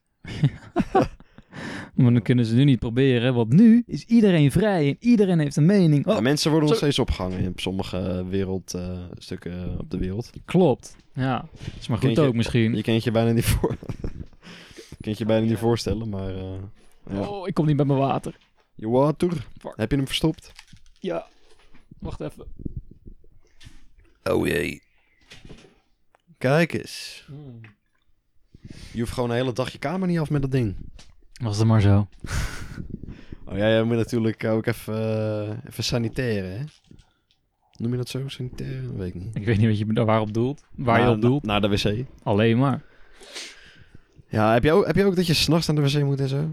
S1: maar dan kunnen ze nu niet proberen. Want nu is iedereen vrij en iedereen heeft een mening. Oh,
S2: Ja, mensen worden nog
S1: zo.
S2: steeds opgehangen in sommige wereldstukken eh, op de wereld.
S1: Klopt. Ja, is maar goed
S2: Kindje-
S1: ook misschien.
S2: Je kent je bijna niet voor... je kent je bijna niet voorstellen, maar... eh, ja.
S1: Oh, ik kom niet bij mijn water.
S2: Je water,
S1: Fuck.
S2: heb je hem verstopt?
S1: Ja. Wacht even.
S2: Oh jee. Kijk eens.
S1: Hmm.
S2: Je hoeft gewoon een hele dag je kamer niet af met dat ding.
S1: Was het maar zo.
S2: Oh ja, jij moet natuurlijk ook even, eh, even saniteren, hè? Noem je dat zo, saniteren? Weet ik niet.
S1: Ik weet niet wat je daar waarop doelt. Waar
S2: Na-
S1: je op doelt.
S2: na- Naar de wc.
S1: Alleen maar.
S2: Ja, heb je ook, heb je ook dat je s'nachts naar de wc moet en zo?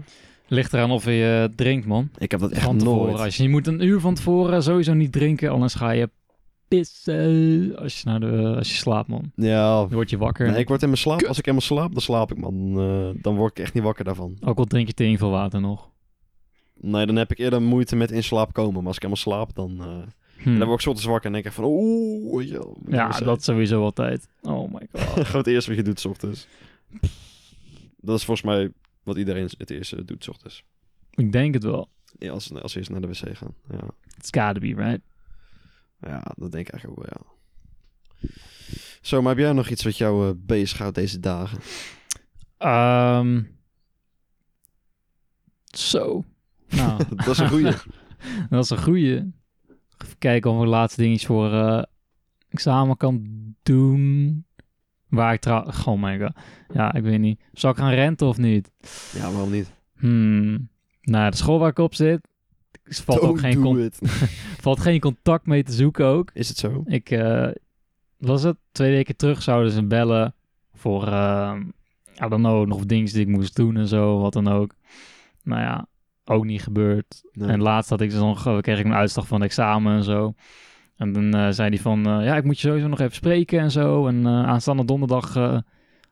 S1: Ligt eraan of je eh, drinkt, man.
S2: Ik heb dat echt
S1: Van tevoren.
S2: nooit.
S1: Als je, je moet een uur van tevoren sowieso niet drinken. Anders ga je pissen. Als je, naar de, eh, als je slaapt, man.
S2: Ja,
S1: Dan word je wakker.
S2: nee, ik word in mijn slaap. Als ik helemaal slaap, dan slaap ik, man. Eh, dan word ik echt niet wakker daarvan.
S1: Ook al drink je tegen veel water nog.
S2: Nee, dan heb ik eerder moeite met in slaap komen. Maar als ik helemaal slaap, dan, eh,
S1: Hm.
S2: dan word ik ochtends wakker en denk ik van... Oeh, weet je wel, moet naar
S1: Ja,
S2: de wc.
S1: dat sowieso altijd. Oh my god.
S2: Gewoon het eerste wat je doet 's ochtends. Dat is volgens mij wat iedereen het eerste doet 's ochtends.
S1: ik denk het wel.
S2: Ja, als, als eerst naar de wc gaan. Ja.
S1: It's gotta be, right?
S2: ja, dat denk ik eigenlijk ook wel, ja. Zo, maar heb jij nog iets wat jou eh, bezig bezighoudt deze dagen?
S1: Ehm, Zo. Nou,
S2: dat is een goeie.
S1: dat is een goeie. Even kijken of ik laatste dingetjes voor eh, examen kan doen. Waar ik trouwens... Oh my god. Ja, ik weet niet. Zal ik gaan renten of niet?
S2: ja, waarom niet?
S1: Hmm. Nou, de school waar ik op zit... er Valt ook
S2: Don't
S1: geen,
S2: do
S1: con-
S2: it.
S1: valt geen contact mee te zoeken ook.
S2: Is het zo?
S1: Ik eh, was het twee weken terug zouden ze bellen voor, eh, I don't know, nog dingen die ik moest doen en zo, wat dan ook. Nou ja, ook niet gebeurd.
S2: Nee.
S1: En laatst had ik dus nog, eh, kreeg ik een uitslag van het examen en zo. En dan eh, zei hij van, eh, ja, ik moet je sowieso nog even spreken en zo. En eh, aanstaande donderdag eh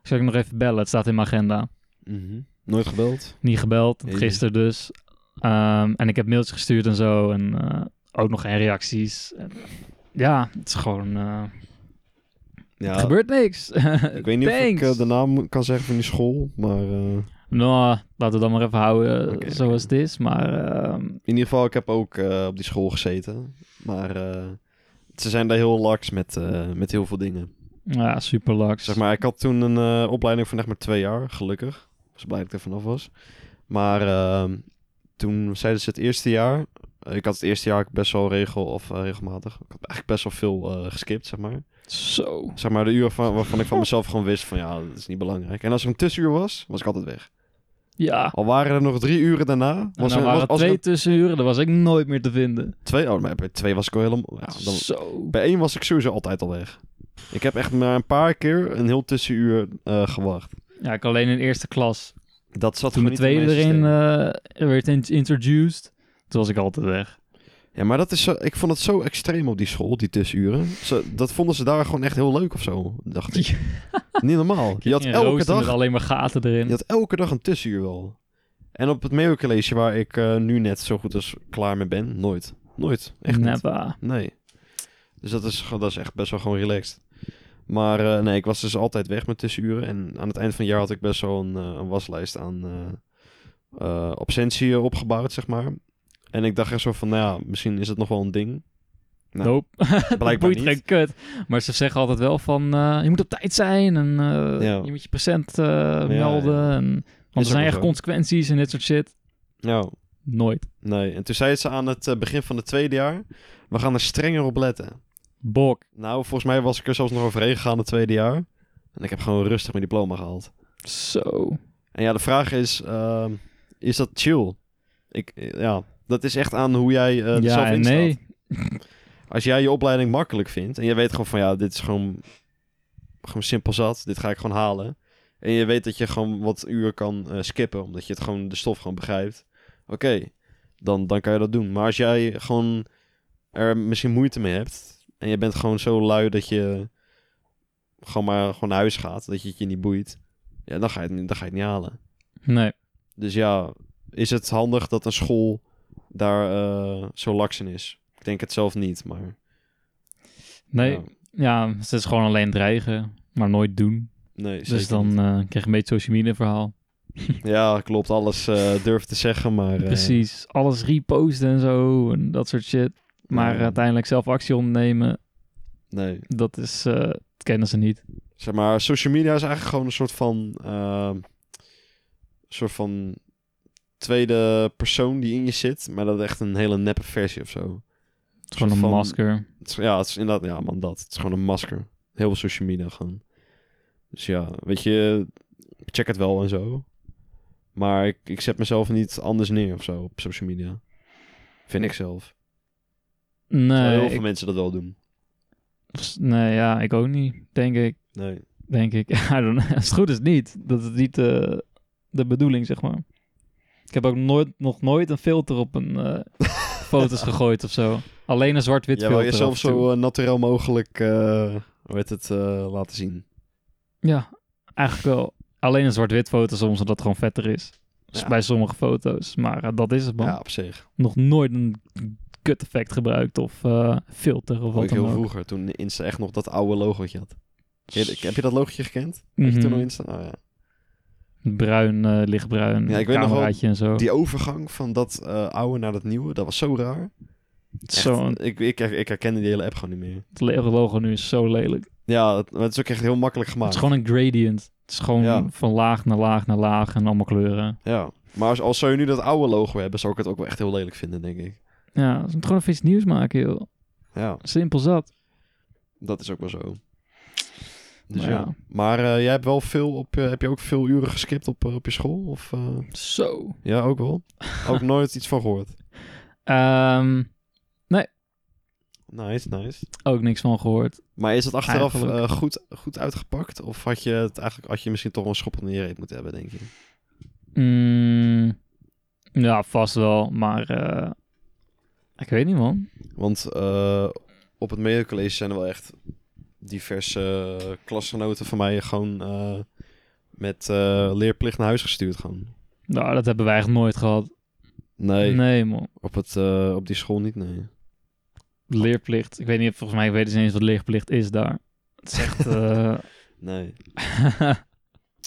S1: zal ik nog even bellen. Het staat in mijn agenda.
S2: Mhm. Nooit gebeld?
S1: Niet gebeld,
S2: Jezus.
S1: gisteren dus. Ehm, en ik heb mails gestuurd en zo. En eh, ook nog geen reacties. En, ja, het is gewoon... eh,
S2: Ja,
S1: er gebeurt niks.
S2: Ik weet niet
S1: Thanks.
S2: of ik eh, de naam mo- kan zeggen van die school, maar eh,
S1: Nou, laten we dat maar even houden eh,
S2: Oké,
S1: zoals het is. Maar ehm,
S2: in ieder geval, ik heb ook eh, op die school gezeten. Maar eh, ze zijn daar heel laks met, eh, met heel veel dingen.
S1: ja, super lax.
S2: Zeg maar, ik had toen een eh, opleiding van echt maar twee jaar, gelukkig. Was blij dat ik er vanaf was. Maar ehm, toen zeiden ze het eerste jaar. eh, Ik had het eerste jaar best wel regel of eh, regelmatig. Ik had eigenlijk best wel veel eh, geskipt, zeg maar.
S1: Zo.
S2: Zeg maar de uren van, waarvan ik van mezelf gewoon wist van ja, dat is niet belangrijk. En als er een tussenuur was, was ik altijd weg.
S1: Ja.
S2: Al waren er nog drie uren daarna,
S1: En
S2: was
S1: dan
S2: er,
S1: waren
S2: was, als er
S1: twee tussenuren, daar was ik nooit meer te vinden.
S2: twee. Oh, maar bij twee was ik al helemaal.
S1: Nou,
S2: Ja, dan,
S1: Zo.
S2: bij één was ik sowieso altijd al weg. Ik heb echt maar een paar keer een heel tussenuur eh, gewacht.
S1: Ja, ik alleen in eerste klas.
S2: Dat zat
S1: Toen
S2: gewoon
S1: de
S2: niet in mijn
S1: tweede erin
S2: systeem.
S1: eh, werd in- introduced, toen was ik altijd weg.
S2: Ja, maar dat is zo, ik vond het zo extreem op die school, die tussenuren. Ze, dat vonden ze daar gewoon echt heel leuk of zo, dacht ik. Niet normaal. Je had
S1: Een
S2: elke
S1: rooster
S2: dag,
S1: Met alleen maar gaten erin.
S2: je had elke dag een tussenuur wel. En op het Mayo College, waar ik eh, nu net zo goed als klaar mee ben, nooit. Nooit. Echt niet.
S1: Neppa.
S2: Nee. Dus dat is, gewoon- dat is echt best wel gewoon relaxed. Maar eh, nee, ik was dus altijd weg met tussenuren. En aan het eind van het jaar had ik best wel een, eh, een waslijst aan eh, eh, absentie eh, opgebouwd, zeg maar. En ik dacht echt zo van, nou ja, misschien is het nog wel een ding. Nou,
S1: nope.
S2: Blijkbaar
S1: Boeit
S2: niet.
S1: geen kut. Maar ze zeggen altijd wel van, eh, je moet op tijd zijn en eh,
S2: Ja.
S1: je moet je procent eh, melden. En, want
S2: ook
S1: er zijn
S2: wel
S1: echt
S2: zo.
S1: consequenties en dit soort shit.
S2: Nou,
S1: Nooit.
S2: nee. En toen zei ze aan het eh, begin van het tweede jaar, we gaan er strenger op letten.
S1: Bok.
S2: Nou, volgens mij was ik er zelfs nog overheen gegaan het tweede jaar. En ik heb gewoon rustig mijn diploma gehaald.
S1: Zo.
S2: En ja, de vraag is, ehm, is dat chill? Ik, ja, dat is echt aan hoe jij eh er
S1: ja
S2: zelf
S1: en
S2: in
S1: nee.
S2: staat. Als jij je opleiding makkelijk vindt en je weet gewoon van ja, dit is gewoon, gewoon simpel zat, dit ga ik gewoon halen. En je weet dat je gewoon wat uren kan eh, skippen, omdat je het gewoon de stof gewoon begrijpt. Oké, dan, dan kan je dat doen. Maar als jij gewoon er misschien moeite mee hebt en je bent gewoon zo lui dat je gewoon maar gewoon naar huis gaat, dat je het je niet boeit, ja, dan, ga je het, niet- dan ga je het niet halen.
S1: Nee.
S2: Dus ja, is het handig dat een school daar eh, zo laks in is? Ik denk het zelf niet, maar...
S1: Nee.
S2: ja,
S1: Ja, ze is gewoon alleen dreigen, maar nooit doen.
S2: nee,
S1: dus
S2: zeker
S1: dan
S2: niet.
S1: eh, krijg je een beetje social media verhaal.
S2: Ja, klopt. Alles eh durf te zeggen, maar... eh,
S1: Precies. Alles reposten en zo en dat soort shit. Maar
S2: Ja.
S1: uiteindelijk zelf actie ondernemen,
S2: nee.
S1: dat is... eh, dat kennen ze niet.
S2: Zeg maar, social media is eigenlijk gewoon een soort van... eh, soort van tweede persoon die in je zit, maar dat is echt een hele neppe versie of zo.
S1: Het is gewoon een
S2: Van-
S1: masker.
S2: Het is- ja, het is inderdaad, ja man, dat. Het is gewoon een masker. Heel veel social media gewoon. Dus ja, weet je, check het wel en zo. Maar ik, ik zet mezelf niet anders neer of zo op social media. Vind ik zelf. Terwijl
S1: Nee,
S2: heel veel
S1: ik-
S2: mensen dat wel doen.
S1: nee, ja, ik ook niet, denk ik.
S2: Nee.
S1: Denk ik. I don't know. Als het goed is niet. Dat is niet eh, de bedoeling, zeg maar. Ik heb ook nooit, nog nooit een filter op een eh, foto's gegooid of zo. Alleen een zwart-wit
S2: Jij wil
S1: filter.
S2: jezelf
S1: af en toe.
S2: zo eh, naturel mogelijk, eh hoe heet het, eh, laten zien.
S1: Ja, eigenlijk wel. Alleen een zwart-wit foto soms, omdat het gewoon vetter is. Dus
S2: Ja.
S1: bij sommige foto's. Maar eh, dat is het, man.
S2: Ja, op zich.
S1: Nog nooit een kut effect gebruikt of eh, filter of
S2: Ook
S1: wat dan
S2: heel
S1: ook.
S2: vroeger, toen Insta echt nog dat oude logootje had. Heb je, heb je dat logootje gekend? Heb je
S1: Mhm.
S2: toen nog Insta? Oh, ja.
S1: Bruin, eh, lichtbruin,
S2: Ja, ik weet nog wel
S1: cameraatje en zo.
S2: Die overgang van dat eh, oude naar dat nieuwe, dat was zo raar. Echt,
S1: Zo'n
S2: ik, ik, ik herkende die hele app gewoon niet meer.
S1: het logo nu is zo lelijk.
S2: Ja, het, het is ook echt heel makkelijk
S1: Het
S2: gemaakt.
S1: is gewoon een gradient. Het is gewoon
S2: Ja.
S1: van laag naar laag naar laag en allemaal kleuren.
S2: Ja, Maar als, als zou je nu dat oude logo hebben, zou ik het ook wel echt heel lelijk vinden, denk ik.
S1: Ja, ze moeten gewoon even iets nieuws maken, joh.
S2: Ja,
S1: Simpel zat.
S2: dat is ook wel zo. Dus
S1: Maar
S2: ja.
S1: ja.
S2: Maar eh, jij hebt wel veel op, eh, heb je ook veel uren geskipt op, eh, op je school? Of, eh,
S1: Zo.
S2: Ja, ook wel. ook nooit iets van gehoord.
S1: Ehm,
S2: Nice, nice.
S1: ook niks van gehoord.
S2: Maar is het achteraf
S1: Eigenlijk.
S2: eh, goed, goed uitgepakt? Of had je het eigenlijk had je misschien toch wel een schop in je reet moeten hebben, denk je?
S1: Mm, ja, vast wel. Maar eh, ik weet niet, man.
S2: Want eh, op het medical college zijn er wel echt diverse eh, klasgenoten van mij gewoon eh, met eh, leerplicht naar huis gestuurd gewoon.
S1: Nou, dat hebben wij echt nooit gehad.
S2: Nee,
S1: Nee, man.
S2: Op, het, eh, op die school niet, nee.
S1: Leerplicht. Ik weet niet, volgens mij weten ze niet eens wat leerplicht is daar. Het is echt... eh,
S2: Nee.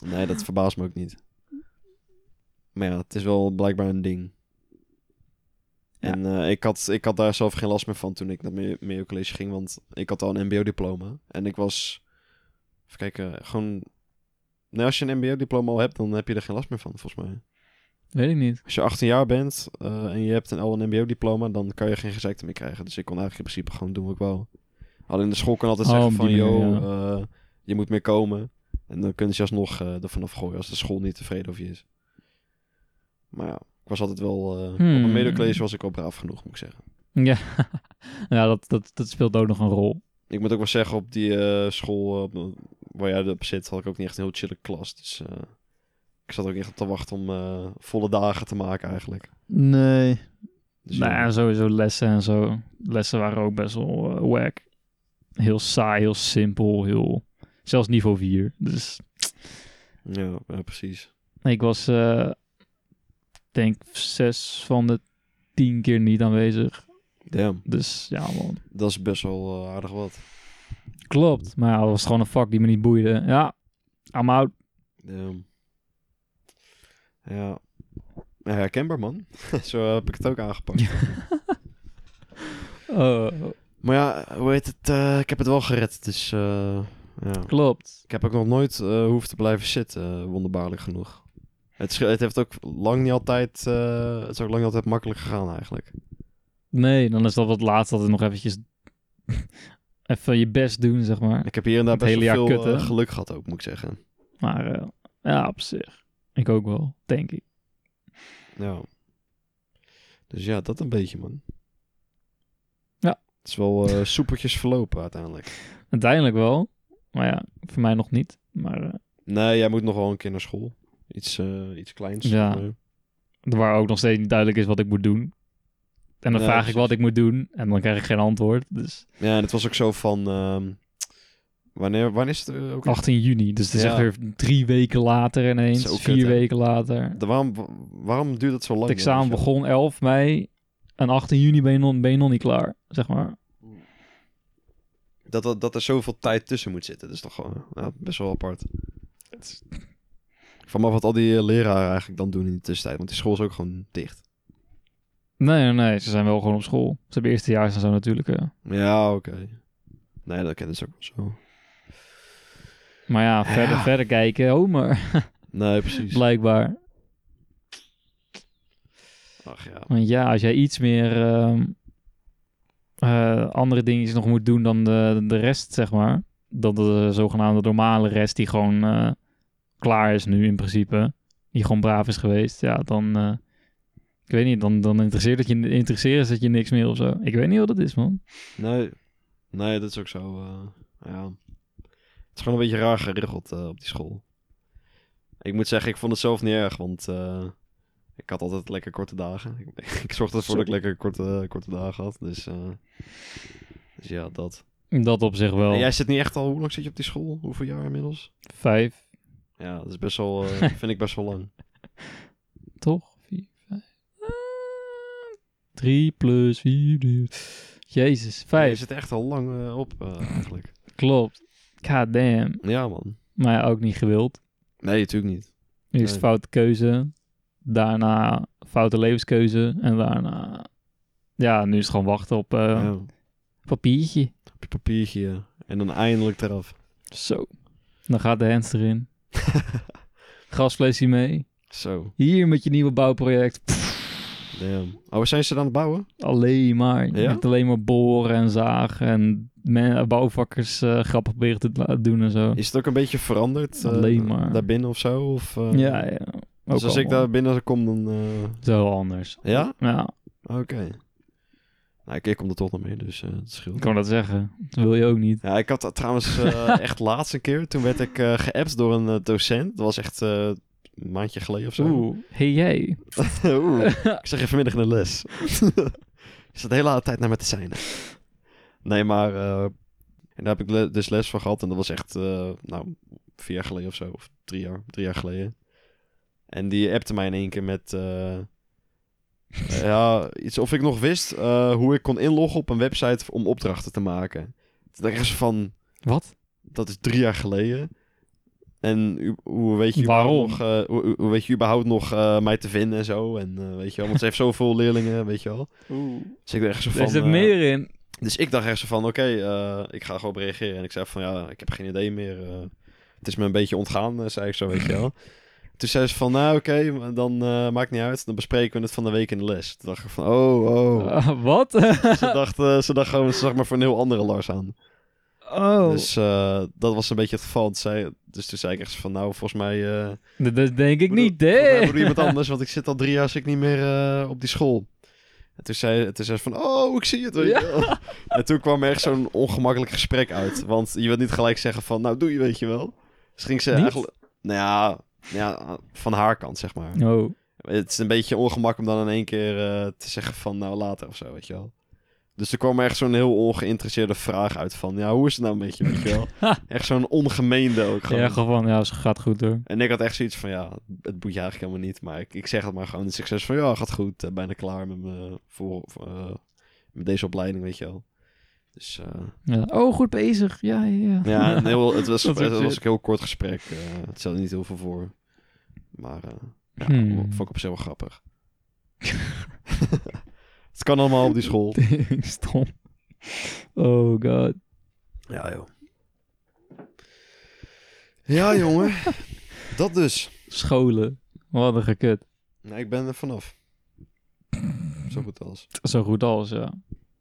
S2: Nee, dat verbaast me ook niet. Maar ja, het is wel blijkbaar een ding. En eh, ik, had, ik had daar zelf geen last meer van toen ik naar het Mayo College ging, want ik had al een mbo-diploma. En ik was, even kijken, gewoon... Nou, als je een mbo-diploma al hebt, dan heb je er geen last meer van, volgens mij.
S1: weet ik niet.
S2: Als je 18 jaar bent eh, en je hebt een al een mbo-diploma, dan kan je geen gezekte meer krijgen. Dus ik kon eigenlijk in principe gewoon doen wat ik wou. Alleen de school kan altijd
S1: Oh,
S2: zeggen
S1: op
S2: van,
S1: die
S2: yo,
S1: manier,
S2: eh, je moet meer komen. En dan kunnen ze je alsnog eh er vanaf gooien als de school niet tevreden over je is. Maar ja, ik was altijd wel... eh, Op
S1: Hmm.
S2: een middelcollege was ik wel braaf genoeg, moet ik zeggen.
S1: Ja, ja dat, dat, dat speelt ook nog een rol.
S2: Ik moet ook wel zeggen, op die eh, school eh, op- waar jij op zit, had ik ook niet echt een heel chille klas. Dus eh, ik zat ook echt op te wachten om eh, volle dagen te maken eigenlijk.
S1: Nee.
S2: Dus,
S1: nou,
S2: ja.
S1: ja, sowieso lessen en zo. Lessen waren ook best wel eh, wack. Heel saai, heel simpel, heel... Zelfs niveau 4. Dus
S2: Ja, ja, precies.
S1: ik was, eh, denk, zes van de tien keer niet aanwezig.
S2: Damn.
S1: Dus ja, man.
S2: Dat is best wel eh, aardig wat.
S1: Klopt. Maar ja, dat was gewoon een vak die me niet boeide. Ja, I'm out.
S2: Ehm, ja. Ja, herkenbaar man. Zo heb ik het ook aangepakt.
S1: Eh,
S2: Maar ja, hoe heet het? eh, ik heb het wel gered, dus eh, ja.
S1: klopt.
S2: Ik heb ook nog nooit eh, hoeven te blijven zitten, eh, wonderbaarlijk genoeg. Het, sche- het heeft ook lang niet altijd, eh, het is ook lang niet altijd makkelijk gegaan eigenlijk.
S1: Nee, dan is dat wat laatste dat het nog eventjes... even je best doen, zeg maar.
S2: Ik heb hier en daar
S1: Het
S2: best
S1: hele
S2: wel
S1: jaar
S2: veel
S1: kut, hè?
S2: eh, geluk gehad ook, moet ik zeggen.
S1: Maar eh, ja, op zich. Ik ook wel, denk ik.
S2: Ja. Dus ja, dat een beetje man.
S1: Ja.
S2: Het is wel eh soepeltjes verlopen uiteindelijk.
S1: Uiteindelijk wel. Maar ja, voor mij nog niet. Maar eh,
S2: Nee, jij moet nog wel een keer naar school. Iets, eh, iets kleins.
S1: Ja.
S2: zeg maar.
S1: waar ook nog steeds niet duidelijk is wat ik moet doen. En dan
S2: Nee,
S1: vraag ik
S2: precies.
S1: wat ik moet doen en dan krijg ik geen antwoord. Dus
S2: ja, en het was ook zo van... ehm, wanneer, wanneer is het eh, ook?
S1: 18 juni. Dus het is
S2: Ja.
S1: echt weer drie weken later ineens.
S2: Zo kut,
S1: vier
S2: hè?
S1: weken later.
S2: De- waarom, wa- waarom duurt het zo lang?
S1: het examen
S2: weet je
S1: begon 11 mei. En 18 juni ben je, nog, ben je nog niet klaar, zeg maar.
S2: wel? Dat, dat, dat er zoveel tijd tussen moet zitten. Dat is toch gewoon ja, best wel apart. Van wat al die eh, leraren eigenlijk dan doen in de tussentijd. Want die school is ook gewoon dicht.
S1: Nee, nee, nee. Ze zijn wel gewoon op school. Ze hebben eerstejaars en zo natuurlijk. eh.
S2: Ja, oké. Nee, dat kennen ze ook wel zo.
S1: Maar ja, verder,
S2: Ja.
S1: verder kijken. Homer,
S2: Nee, precies.
S1: blijkbaar.
S2: Ach ja.
S1: Want ja, als jij iets meer ehm, eh, andere dingetjes nog moet doen dan de, de rest, zeg maar. Dan de zogenaamde normale rest die gewoon eh, klaar is nu in principe. Die gewoon braaf is geweest. Ja, dan... eh, ik weet niet, dan, dan interesseert, het je, interesseert het je niks meer of zo. Ik weet niet wat dat is, man.
S2: Nee, nee dat is ook zo. eh, ja. Het is gewoon een beetje raar geregeld eh, op die school. Ik moet zeggen, ik vond het zelf niet erg, want eh, ik had altijd lekker korte dagen. Ik, ik zorgde ervoor dat ik lekker korte, korte dagen had. Dus, eh, dus ja, dat.
S1: In dat op zich wel.
S2: En jij zit niet echt al, hoe lang zit je op die school? Hoeveel jaar inmiddels?
S1: Vijf,
S2: Ja, dat is best wel, eh, vind ik best wel lang.
S1: toch? Vier, vijf. Ah, Drie plus vier. plus- Jezus,
S2: Je
S1: vijf.
S2: zit echt al lang eh, op eh, eigenlijk.
S1: Klopt. God damn.
S2: Ja, man.
S1: Maar ja, ook niet gewild.
S2: Nee, natuurlijk niet.
S1: Eerst
S2: Nee.
S1: foute keuze, daarna foute levenskeuze en daarna... Ja, nu is het gewoon wachten op eh,
S2: Ja,
S1: papiertje.
S2: op je papiertje eh, en dan eindelijk eraf.
S1: Zo. Dan gaat de hens erin. Gasflesje mee.
S2: Zo,
S1: Hier met je nieuwe bouwproject. Pff,
S2: damn. Oh, waar zijn ze dan aan het bouwen?
S1: alleen maar. Je
S2: Ja?
S1: hebt alleen maar boren en zagen en men, bouwvakkers eh, grappen proberen te la- doen en zo.
S2: Is het ook een beetje veranderd? eh,
S1: Alleen maar.
S2: Daarbinnen of zo? Of, eh,
S1: ja, ja. Ook
S2: Dus als ik
S1: allemaal.
S2: daar binnen kom, dan... eh,
S1: Zo anders.
S2: Ja?
S1: Ja,
S2: Oké. Nou, ik, ik kom er toch nog mee, dus eh het scheelt.
S1: ik kan dat zeggen. Dat wil je ook niet.
S2: Ja, ik had dat trouwens eh, echt laatste keer. Toen werd ik eh geappt door een eh, docent. Dat was echt eh, een maandje geleden of zo.
S1: Oeh, hey jij.
S2: Oeh. Ik zeg je vanmiddag in de les. Je zat de hele tijd naar me te zijn. Nee, maar... eh, en daar heb ik le- dus les van gehad. En dat was echt, eh, nou, vier jaar geleden of zo. Of drie jaar, drie jaar geleden. En die appte mij in één keer met... eh, ja, iets of ik nog wist eh, hoe ik kon inloggen op een website om opdrachten te maken. Toen dacht ik echt zo van...
S1: Wat?
S2: Dat is drie jaar geleden. En u- hoe weet je überhaupt
S1: Waarom?
S2: nog, eh, hoe, hoe weet je überhaupt nog eh, mij te vinden en zo? En eh, weet je wel, want ze heeft zoveel leerlingen, weet je wel.
S1: Oeh.
S2: Dus ik dacht echt zo van.
S1: Er zit
S2: eh,
S1: meer in.
S2: dus ik dacht echt zo van, oké, eh, ik ga gewoon op reageren. En ik zei van, ja, ik heb geen idee meer. eh, het is me een beetje ontgaan, eh, zei ik zo, weet je wel. Toen zei ze van, nou oké, maar dan eh, maakt niet uit. Dan bespreken we het van de week in de les. Toen dacht ik van, oh, oh.
S1: Eh, wat?
S2: Ze dacht, eh, ze dacht gewoon, ze zag maar voor een heel andere Lars aan.
S1: oh.
S2: Dus eh, dat was een beetje het geval. Toen zei- dus toen zei ik echt van, nou, volgens mij... eh,
S1: dat, dat denk ik
S2: moet-
S1: niet,
S2: volgens mij
S1: hè?
S2: moet er iemand anders, want ik zit al drie jaar zit ik niet meer eh, op die school. En toen zei, toen zei ze van, oh, ik zie het. Weet je wel. En toen kwam er echt zo'n ongemakkelijk gesprek uit. Want je wilt niet gelijk zeggen van, nou, doe je, weet je wel. Dus ging ze
S1: Niet?
S2: eigenlijk... Nou ja, nou ja, van haar kant, zeg maar.
S1: Oh.
S2: Het is een beetje ongemak om dan in één keer eh, te zeggen van nou later of zo, weet je wel. Dus er kwam echt zo'n heel ongeïnteresseerde vraag uit van ja, hoe is het nou met je, weet je wel. echt zo'n ongemeende ook gewoon.
S1: Ja, gewoon van, ja, ze gaat goed hoor.
S2: en ik had echt zoiets van ja, het boeit je eigenlijk helemaal niet, maar ik, ik zeg het maar gewoon. Dus ik zeg van ja, gaat goed, eh, bijna klaar met, mijn voor, eh, met deze opleiding, weet je wel. Dus eh,
S1: Ja. Oh, goed bezig. Ja, ja, ja.
S2: ja, een heel, het was,
S1: Dat is
S2: het
S1: shit.
S2: was een heel kort gesprek. eh, het stelde niet heel veel voor. Maar eh, ja,
S1: Hmm.
S2: vond ik op zich wel grappig. het kan allemaal op die school.
S1: Tering Stom. Oh god.
S2: Ja, joh. Ja, jongen. Dat dus.
S1: Scholen. Wat een gekut.
S2: Nou, ik ben er vanaf. Zo goed als.
S1: Zo goed als, ja.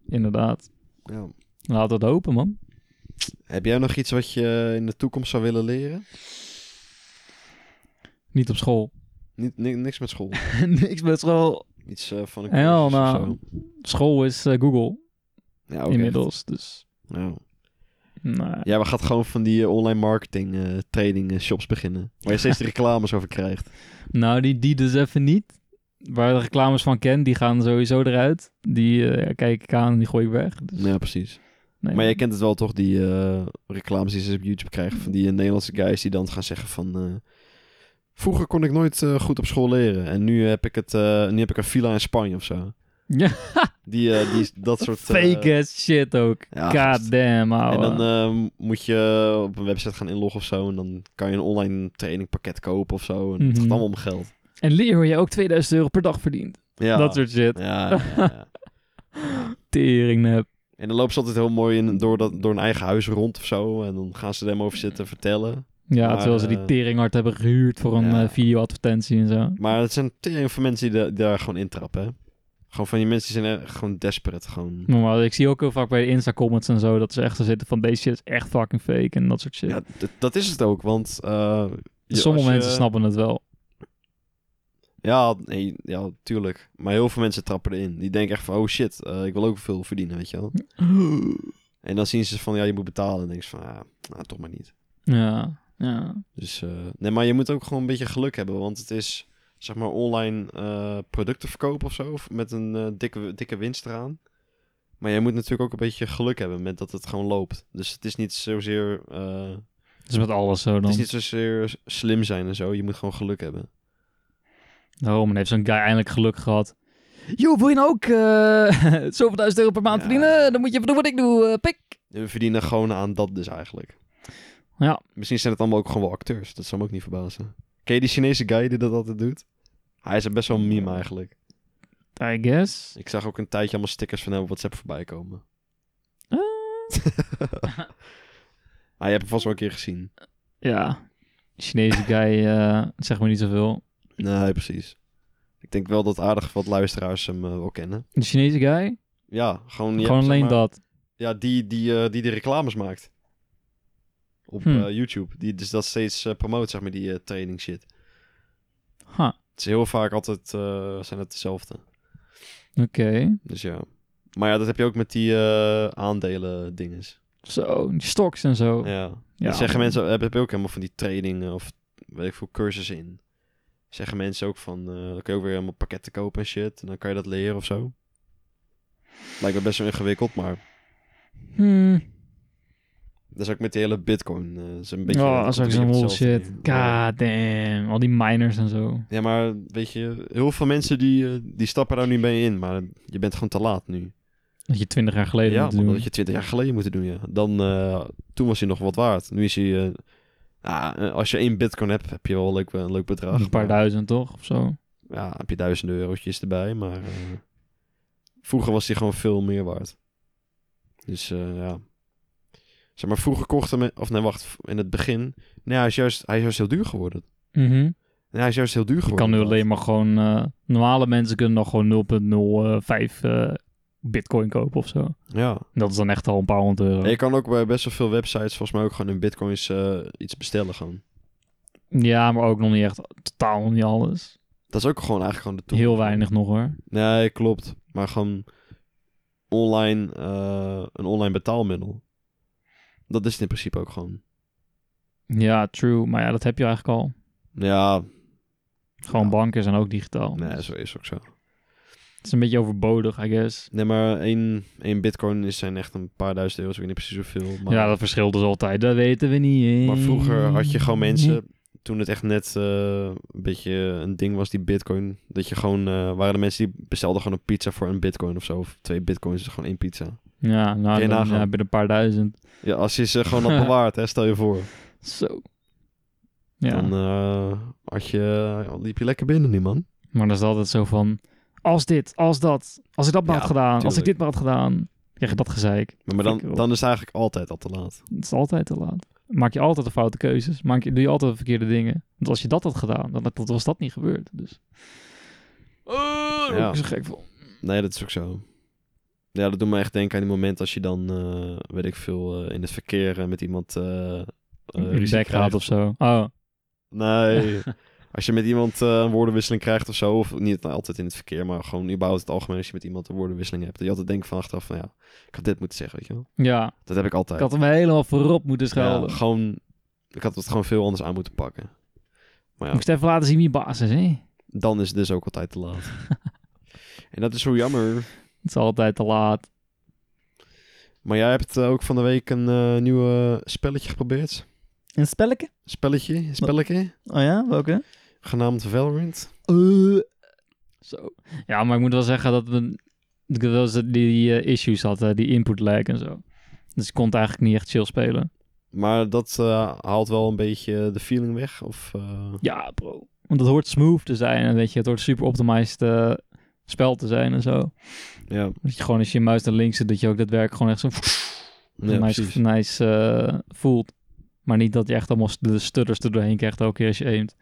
S1: Inderdaad.
S2: Ja.
S1: Laat dat hopen, man.
S2: Heb jij nog iets wat je in de toekomst zou willen leren?
S1: Niet op school.
S2: Niet, ni- niks met school.
S1: Niks met school.
S2: Iets eh, van een
S1: Hell
S2: cursus of
S1: no.
S2: zo.
S1: School is eh, Google
S2: Ja, oké.
S1: inmiddels. Dus,
S2: Ja.
S1: nou,
S2: Ja, we gaan gewoon van die eh, online marketing eh, training eh, shops beginnen. Waar je steeds de reclames over krijgt.
S1: nou die, die dus even niet. Waar de reclames van ken, die gaan sowieso eruit. Die eh, kijk ik aan en die gooi ik weg. Dus,
S2: Ja, precies.
S1: nee.
S2: Maar jij kent het wel toch, die eh, reclames die ze op YouTube krijgen van die eh, Nederlandse guys die dan gaan zeggen van... eh, Vroeger kon ik nooit eh, goed op school leren en nu heb ik, het, eh, nu heb ik een villa in Spanje of zo.
S1: Ja.
S2: Die, eh, die, dat soort... eh,
S1: Fake ass shit ook.
S2: ja,
S1: God
S2: gast.
S1: damn, ouwe.
S2: En dan eh, moet je op een website gaan inloggen of zo en dan kan je een online trainingpakket kopen of zo. En het gaat
S1: Mhm.
S2: allemaal om geld.
S1: En leer hoe je ook 2000 euro per dag verdient.
S2: Ja,
S1: Dat soort shit.
S2: ja, ja, ja.
S1: Teringnep.
S2: En dan loopt ze altijd heel mooi in, door, dat, door een eigen huis rond of zo. En dan gaan ze er hem over zitten vertellen.
S1: Ja,
S2: Maar,
S1: terwijl ze die
S2: eh,
S1: teringhard hebben gehuurd voor een
S2: ja.
S1: eh, videoadvertentie en zo.
S2: Maar het zijn tering van mensen die, da- die daar gewoon intrappen. Hè? Gewoon van die mensen die zijn eh, gewoon desperate. Gewoon.
S1: Maar ik zie ook heel vaak bij de Insta-comments en zo dat ze echt zo zitten van deze shit is echt fucking fake en dat soort shit. Dus
S2: Ja, d- dat is het ook, want... eh, je-
S1: Sommige
S2: als je-
S1: mensen snappen het wel.
S2: Ja, nee, ja, tuurlijk. Maar heel veel mensen trappen erin. Die denken echt van, oh shit, eh, ik wil ook veel verdienen, weet je wel. En dan zien ze van, ja, je moet betalen. En dan denken ze van, ah, nou, toch maar niet.
S1: Ja, ja.
S2: Dus, eh, nee, maar je moet ook gewoon een beetje geluk hebben. Want het is, zeg maar, online eh, producten verkopen of zo. of Met een eh, dikke, dikke winst eraan. Maar je moet natuurlijk ook een beetje geluk hebben met dat het gewoon loopt. Dus het is niet zozeer, eh,
S1: Dus met alles zo
S2: het
S1: dan.
S2: is niet zozeer s- slim zijn en zo. Je moet gewoon geluk hebben.
S1: Daarom en Oh, heeft zo'n guy eindelijk geluk gehad. Yo, wil je nou ook eh zoveel duizend euro per maand
S2: Ja.
S1: verdienen? Dan moet je even doen wat ik doe, eh, pik.
S2: En we verdienen gewoon aan dat dus eigenlijk.
S1: Ja.
S2: Misschien zijn het allemaal ook gewoon wel acteurs. Dat zou me ook niet verbazen. Ken je die Chinese guy die dat altijd doet? Hij is best wel een meme eigenlijk.
S1: I guess.
S2: Ik zag ook een tijdje allemaal stickers van hem op WhatsApp voorbij komen.
S1: Eh,
S2: Ah, je hebt hem vast wel een keer gezien.
S1: ja. Chinese guy eh zeg maar niet zoveel.
S2: Nee, precies. Ik denk wel dat aardig wat luisteraars hem eh, wel kennen.
S1: De Chinese guy?
S2: Ja, gewoon... je
S1: Gewoon
S2: hebt, zeg
S1: alleen
S2: maar-
S1: dat.
S2: Ja, die, die, eh, die de reclames maakt. Op
S1: Hm.
S2: eh, YouTube. Die dus dat steeds eh, promoot, zeg maar, die eh, training shit.
S1: Ha,
S2: Het is heel vaak altijd... eh, zijn het dezelfde.
S1: oké.
S2: Dus ja. Maar ja, dat heb je ook met die eh aandelen dinges.
S1: Zo, die stocks en zo.
S2: Ja.
S1: Ja.
S2: Dat zeggen mensen... Heb, heb je ook helemaal van die trainingen of weet ik veel, cursussen in. Zeggen mensen ook van... eh, dan kun je ook weer helemaal pakketten kopen en shit. En dan kan je dat leren of zo. Lijkt me best wel ingewikkeld, maar...
S1: Hmm.
S2: Dat is ook met die hele bitcoin. eh, dat is een beetje...
S1: oh, dat
S2: dat
S1: is ook
S2: is
S1: zo'n
S2: hetzelfde.
S1: bullshit.
S2: Ja.
S1: God damn. Al die miners en zo.
S2: Ja, maar weet je, heel veel mensen die, eh, die stappen daar nu mee in, maar je bent gewoon te laat nu.
S1: Dat je twintig jaar geleden
S2: ja,
S1: moet
S2: man, dat
S1: doen.
S2: had je twintig jaar geleden moeten doen, ja. Dan, eh, toen was hij nog wat waard. Nu is hij, eh, ah, eh, als je één bitcoin hebt, heb je wel een leuk, een leuk bedrag.
S1: Een paar
S2: maar-
S1: duizend, toch? Of zo.
S2: Ja, heb je duizenden eurotjes erbij, maar eh, vroeger was hij gewoon veel meer waard. Dus eh, ja. Zeg maar, vroeger kochten men, of nee, wacht, in het begin, nee, hij is juist, hij is juist heel duur geworden.
S1: Mhm.
S2: Nee, hij is juist heel duur
S1: Je
S2: geworden.
S1: kan nu
S2: inderdaad.
S1: alleen maar gewoon... eh, normale mensen kunnen nog gewoon 0,05 eh, bitcoin kopen of zo.
S2: Ja.
S1: Dat is dan echt al een paar honderd euro.
S2: Ja, je kan ook bij best wel veel websites volgens mij ook gewoon in bitcoins eh, iets bestellen gewoon.
S1: Ja, maar ook nog niet echt totaal niet alles.
S2: Dat is ook gewoon eigenlijk gewoon de toekomst.
S1: Heel weinig nog hoor.
S2: Nee, klopt. Maar gewoon online, eh, een online betaalmiddel. Dat is het in principe ook gewoon.
S1: Ja, true. Maar ja, dat heb je eigenlijk al.
S2: Ja,
S1: Gewoon
S2: Ja.
S1: banken zijn ook digitaal.
S2: nee,
S1: Dus
S2: zo is ook zo.
S1: Het is een beetje overbodig, I guess.
S2: Nee, maar één, één bitcoin is zijn echt een paar duizend euro's. Ik weet niet precies hoeveel. Maar,
S1: Ja, dat Mm. verschilt dus altijd. Dat weten we niet. hè.
S2: maar vroeger had je gewoon mensen, toen het echt net eh, een beetje een ding was, die bitcoin. Dat je gewoon, eh, waren de mensen die bestelden gewoon een pizza voor een bitcoin of zo. Of twee bitcoins, dus gewoon één pizza.
S1: Ja, nou,
S2: je
S1: dan
S2: nagaan.
S1: ja, heb je een paar duizend.
S2: Ja, als je ze gewoon had bewaard, hè, stel je voor.
S1: Zo. Ja,
S2: Dan eh, had je, liep je lekker binnen nu, man.
S1: maar dan is het altijd zo van... Als dit, als dat. Als ik dat maar
S2: Ja,
S1: had gedaan. Als ik
S2: tuurlijk.
S1: dit maar had gedaan. Krijg je dat gezeik.
S2: Maar, maar
S1: Flikker
S2: dan,
S1: op.
S2: dan is het eigenlijk altijd al te laat.
S1: Het is altijd te laat. Maak je altijd de foute keuzes. Maak je, doe je altijd de verkeerde dingen. Want als je dat had gedaan, dan dan was dat niet gebeurd. Dus. Oh,
S2: Ja. Eh,
S1: ik zo gek van.
S2: Nee, dat is ook zo. Ja, dat doet me echt denken aan die moment als je dan, eh, weet ik veel, eh, in het verkeer eh, met iemand... eh eh,
S1: Een
S2: ruzie
S1: bek gaat
S2: krijgt.
S1: of zo. Oh,
S2: Nee, als je met iemand eh, een woordenwisseling krijgt of zo, of niet nou, altijd in het verkeer, maar gewoon überhaupt het algemeen als je met iemand een woordenwisseling hebt. Dat je altijd denkt van achteraf van, ja, ik had dit moeten zeggen, weet je wel.
S1: ja.
S2: Dat heb ik altijd.
S1: Ik had hem helemaal voorop moeten
S2: Ja,
S1: schelden.
S2: gewoon, ik had het gewoon veel anders aan moeten pakken. Maar ja,
S1: Moest even laten zien wie basis is, hè?
S2: dan is het dus ook altijd te laat. en dat is zo jammer.
S1: Het is altijd te laat.
S2: Maar jij hebt eh, ook van de week een eh nieuw eh, spelletje geprobeerd.
S3: Een spelletje?
S2: Spelletje, een spelletje.
S3: Oh ja, welke?
S2: Genaamd Valorant.
S1: Eh, Zo. Ja, maar ik moet wel zeggen dat we dat ik wel eens die, eh, issues had, eh, die input lag en zo. Dus ik kon het eigenlijk niet echt chill spelen.
S2: Maar dat eh, haalt wel een beetje de feeling weg. Of, eh,
S1: Ja, bro. Want het hoort smooth te zijn en weet je, het hoort super optimized eh, spel te zijn en zo.
S2: ja,
S1: Dat je gewoon als je je muis naar links zet, dat je ook dat werk gewoon echt zo
S2: ja, precies.
S1: nice, nice eh, voelt. Maar niet dat je echt allemaal de stutters er doorheen krijgt elke keer als je aimt.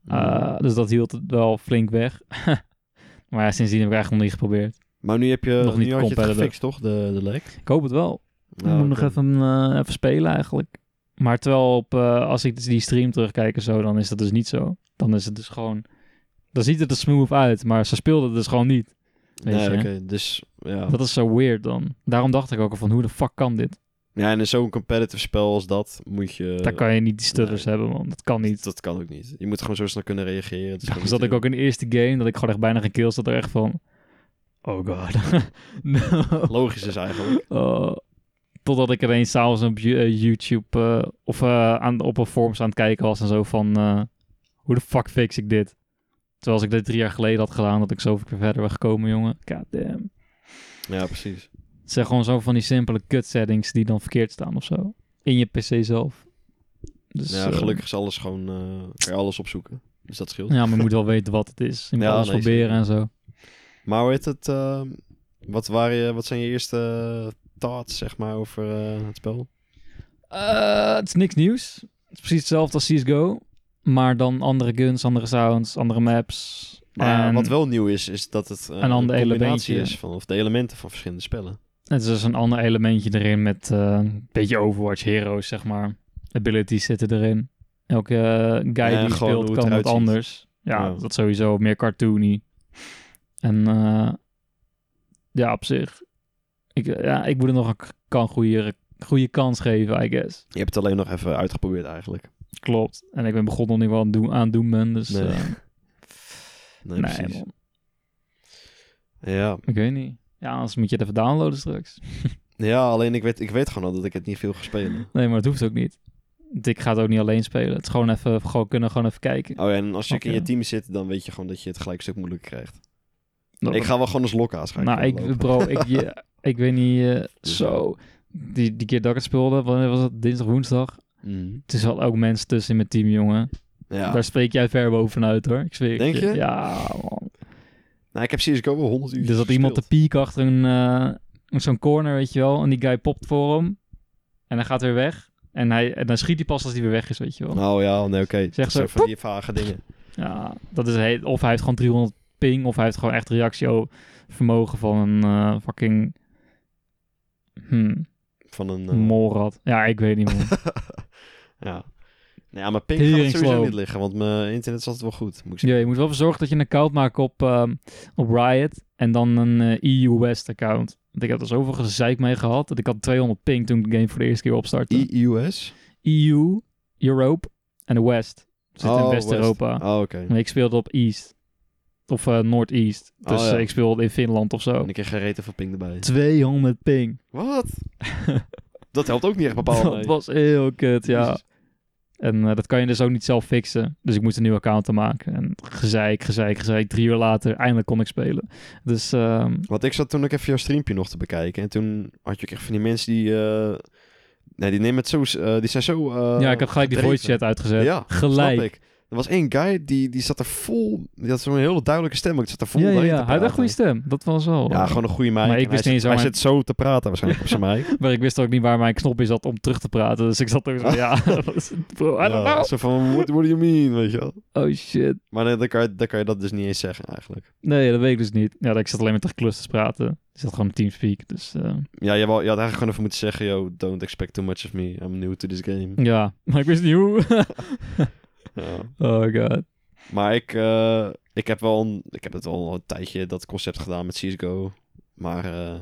S2: Mm.
S1: Eh, dus dat hield het wel flink weg. maar ja, sindsdien heb ik eigenlijk nog niet geprobeerd.
S2: maar nu heb je,
S1: nog niet
S2: nu had je het
S1: competitive.
S2: gefixt, toch? De, de lag?
S1: Ik hoop het wel. Ik
S2: Nou,
S1: moet nog
S2: oké.
S1: even, eh, even spelen eigenlijk. Maar terwijl op, eh, als ik dus die stream terugkijk en zo, dan is dat dus niet zo. Dan is het dus gewoon... Dan ziet het er smooth uit, maar ze speelde het dus gewoon niet. Weet
S2: Nee,
S1: je,
S2: oké.
S1: hè?
S2: Dus ja.
S1: Dat is zo weird dan. Daarom dacht ik ook al van, hoe de fuck kan dit?
S2: Ja, en in zo'n competitive spel als dat moet je...
S1: Daar kan je niet die stutters
S2: nee.
S1: hebben, man. Eh, Dat kan niet.
S2: Dat kan ook niet. Je moet gewoon zo snel kunnen reageren. Het is
S1: Daarom
S2: gewoon
S1: zat
S2: niet
S1: ik ook in de eerste game, dat ik gewoon echt bijna geen kill zat er echt van... Oh god. no.
S2: heel- eh, Logisch is eigenlijk.
S1: Oh. totdat ik ineens s'avonds op Yo- eh, YouTube eh, of eh, aan, op een forums aan het kijken was en zo van... eh, hoe de fuck fix ik dit? Terwijl als ik dit drie jaar geleden had gedaan, dat ik zoveel keer verder was gekomen, jongen. God damn.
S2: Ja, precies.
S1: Het zijn gewoon zo van die simpele kut settings die dan verkeerd staan of zo. In je pc zelf. Dus,
S2: Nou ja,
S1: eh,
S2: gelukkig is alles gewoon... eh, kan je alles opzoeken. Dus dat scheelt.
S1: Ja, maar je moet wel weten wat het is. Je moet
S2: Ja,
S1: alles
S2: nee,
S1: proberen
S2: zeker.
S1: en zo.
S2: Maar hoe heet het? eh, wat, waren je, wat zijn je eerste thoughts, zeg maar, over eh, het spel?
S1: Eh, het is niks nieuws. Het is precies hetzelfde als CSGO. Maar dan andere guns, andere sounds, andere maps.
S2: Maar
S1: en
S2: wat wel nieuw is, is dat het eh,
S1: Ehm, Een ander
S2: een combinatie
S1: elementje.
S2: is van of de elementen van verschillende spellen.
S1: Het is dus een ander elementje erin met eh, een beetje Overwatch heroes, zeg maar. Abilities zitten erin. Elke eh, guy
S2: Ja,
S1: die
S2: gewoon hoe
S1: speelt
S2: het
S1: kan
S2: eruit
S1: wat
S2: ziet.
S1: anders. Ja,
S2: Ja.
S1: dat sowieso. Meer cartoony. En eh, ja, op zich. Ik, eh, ja, ik moet het nog een k- kan goede, goede kans geven, I guess.
S2: Je hebt het alleen nog even uitgeprobeerd eigenlijk.
S1: Klopt. En ik ben begonnen nog niet wel aan het doen, aan het doen ben, dus...
S2: Nee.
S1: eh,
S2: Nee,
S1: nee,
S2: precies.
S1: man.
S2: Ja.
S1: Ik weet niet. Ja, anders moet je het even downloaden straks.
S2: ja, alleen ik weet, ik weet gewoon al dat ik het niet veel ga spelen.
S1: Nee, maar het hoeft ook niet. Want Ik ga het ook niet alleen spelen. Het is gewoon even, gewoon kunnen gewoon even kijken.
S2: Oh ja, en als je
S1: Oké.
S2: in je team zit, dan weet je gewoon dat je het gelijk een stuk moeilijker krijgt.
S1: Nou,
S2: ik ga wel gewoon als lokkaas gaan.
S1: nou, ik, bro, ik, je- ik weet niet, eh,
S2: Dus
S1: zo. Die, die keer dat ik het speelde, wanneer was het? Dinsdag, woensdag.
S2: Mhm.
S1: Toen zat ook mensen tussen in mijn team, jongen.
S2: Ja.
S1: Daar spreek jij ver bovenuit, hoor. Ik zweer het
S2: Denk je?
S1: Ja, man.
S2: Nou, ik heb CSGO wel 100 uur
S1: Er zat Dus iemand te piek achter een, eh, zo'n corner, weet je wel. En die guy popt voor hem. En hij gaat weer weg. En, hij, en dan schiet hij pas als hij weer weg is, weet je wel.
S2: Nou ja, nee, oké.
S1: Zeg
S2: Dat
S1: zo,
S2: zijn van die vage dingen.
S1: Ja, dat is heel, of hij heeft gewoon 300 ping, of hij heeft gewoon echt reactievermogen van een eh, fucking hmm,
S2: Van een... eh,
S1: molrad. Ja, ik weet niet meer.
S2: ja. Nou ja, maar ping gaat het
S1: Tering
S2: sowieso
S1: slow.
S2: niet liggen, want mijn internet zat wel goed. Moet ik
S1: ja,
S2: zeggen.
S1: je moet wel voor zorgen dat je een account maakt op, ehm, op Riot en dan een eh, EU West account. Want ik heb er zoveel gezeik mee gehad dat ik had 200 ping toen ik de game voor de eerste keer opstartte.
S2: EUS?
S1: EU, Europe en de West. Zit
S2: Oh,
S1: in
S2: West.
S1: West-Europa.
S2: Oh, oké.
S1: En Ik speelde op East. Of eh, Noord-East.
S2: Oh,
S1: Dus
S2: ja.
S1: eh, ik speelde in Finland of zo.
S2: En ik kreeg geen reten van ping erbij.
S1: 200 ping.
S2: Wat? dat helpt ook niet echt bepaald.
S1: Dat
S2: nee.
S1: was heel kut, ja.
S2: Jezus.
S1: En eh, dat kan je dus ook niet zelf fixen. Dus ik moest een nieuw account maken. En gezeik, gezeik, gezeik. Drie uur later, eindelijk kon ik spelen. Dus ehm,
S2: Want ik zat toen ook even jouw streampje nog te bekijken. En toen had je ook echt van die mensen die... eh, nee, die nemen het zo... eh, die zijn zo... eh,
S1: ja, ik had gelijk die
S2: gedreven.
S1: voice chat uitgezet.
S2: Ja,
S1: gelijk.
S2: Snap ik. Er was één guy, die, die zat er vol... Die had zo'n hele duidelijke stem. Ik zat er vol
S1: ja, ja,
S2: doorheen
S1: ja.
S2: te
S1: Hij had echt
S2: praten.
S1: goede stem. Dat was wel.
S2: Ja, gewoon een goede mic.
S1: Maar ik
S2: En hij
S1: wist niet
S2: zit-
S1: zo,
S2: Hij
S1: maar-
S2: zit zo te praten waarschijnlijk op zijn mic.
S1: Maar ik wist ook niet waar mijn knopje zat om terug te praten. Dus ik zat ook zo, ja, wat is het, bro, I don't
S2: Ja,
S1: know.
S2: Zo van, what, what do you mean, weet je wel.
S1: Oh shit.
S2: Maar nee, dan, kan je, dan kan je dat dus niet eens zeggen eigenlijk.
S1: Nee, dat weet ik dus niet. Ja, ik zat alleen maar tegen clusters praten. Ik zat gewoon op Teamspeak. Dus eh,
S2: Ja, je, wou- je had eigenlijk gewoon even moeten zeggen, yo, don't expect too much of me. I'm new to this game.
S1: ja, maar ik wist niet hoe.
S2: Ja.
S1: oh god.
S2: Maar ik, eh, ik, heb wel een, ik heb het al een tijdje, dat concept gedaan met CSGO. Maar eh,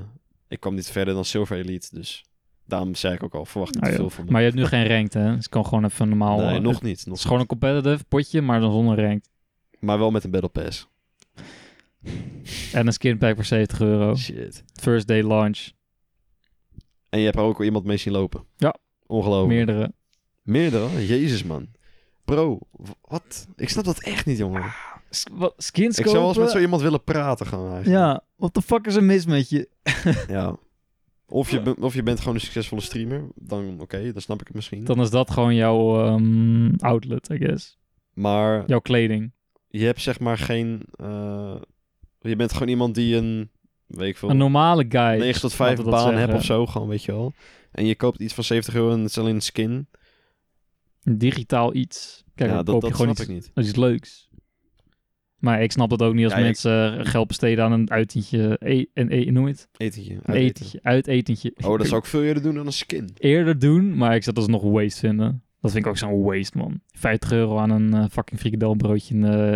S2: ik kwam niet verder dan Silver Elite, dus daarom zei ik ook al, verwacht niet
S1: Ah,
S2: te
S1: ja.
S2: veel van me.
S1: Maar je hebt nu geen ranked, hè? Dus ik kan gewoon even normaal...
S2: nee,
S1: eh,
S2: nog niet.
S1: Het
S2: Nog,
S1: is gewoon een competitive potje, maar dan zonder ranked.
S2: maar wel met een Battle Pass.
S1: En een skin pack voor 70 euro.
S2: Shit.
S1: First day launch.
S2: En je hebt er ook wel iemand mee zien lopen.
S1: Ja.
S2: Ongelooflijk.
S1: Meerdere.
S2: Meerdere? Jezus, man. Bro, w- wat? Ik snap dat echt niet, jongen.
S1: S- wat, skins
S2: Ik zou wel eens met
S1: kopen?
S2: zo iemand willen praten gewoon eigenlijk.
S1: Ja, what the fuck is er mis met je?
S2: Ja. Of, je ben- of je bent gewoon een succesvolle streamer. Dan oké, dan snap ik het misschien.
S1: Dan is dat gewoon jouw ehm, outlet, I guess.
S2: Maar
S1: Jouw kleding.
S2: je hebt zeg maar geen... eh, je bent gewoon iemand die een... Weet ik veel...
S1: Een normale guy.
S2: 9 tot 5
S1: laten we dat
S2: baan hebt
S1: zeggen.
S2: of zo gewoon, weet je wel. En je koopt iets van 70 euro en het is alleen een skin.
S1: Een Digitaal iets. Kijk,
S2: ja,
S1: dan
S2: dat,
S1: koop
S2: dat
S1: je gewoon
S2: snap
S1: iets,
S2: ik niet.
S1: iets leuks. Maar ik snap dat ook niet als
S2: Ja, ik-
S1: mensen geld besteden aan een uitentje. E, een, e, nooit.
S2: Etentje.
S1: Een
S2: uiteten.
S1: etentje. Uitetentje.
S2: Oh, dat zou ik veel eerder doen dan een skin.
S1: eerder doen, maar ik zou dat nog waste vinden. Dat vind ik ook zo'n waste, man. 50 euro aan een eh, fucking frikandelbroodje in, eh,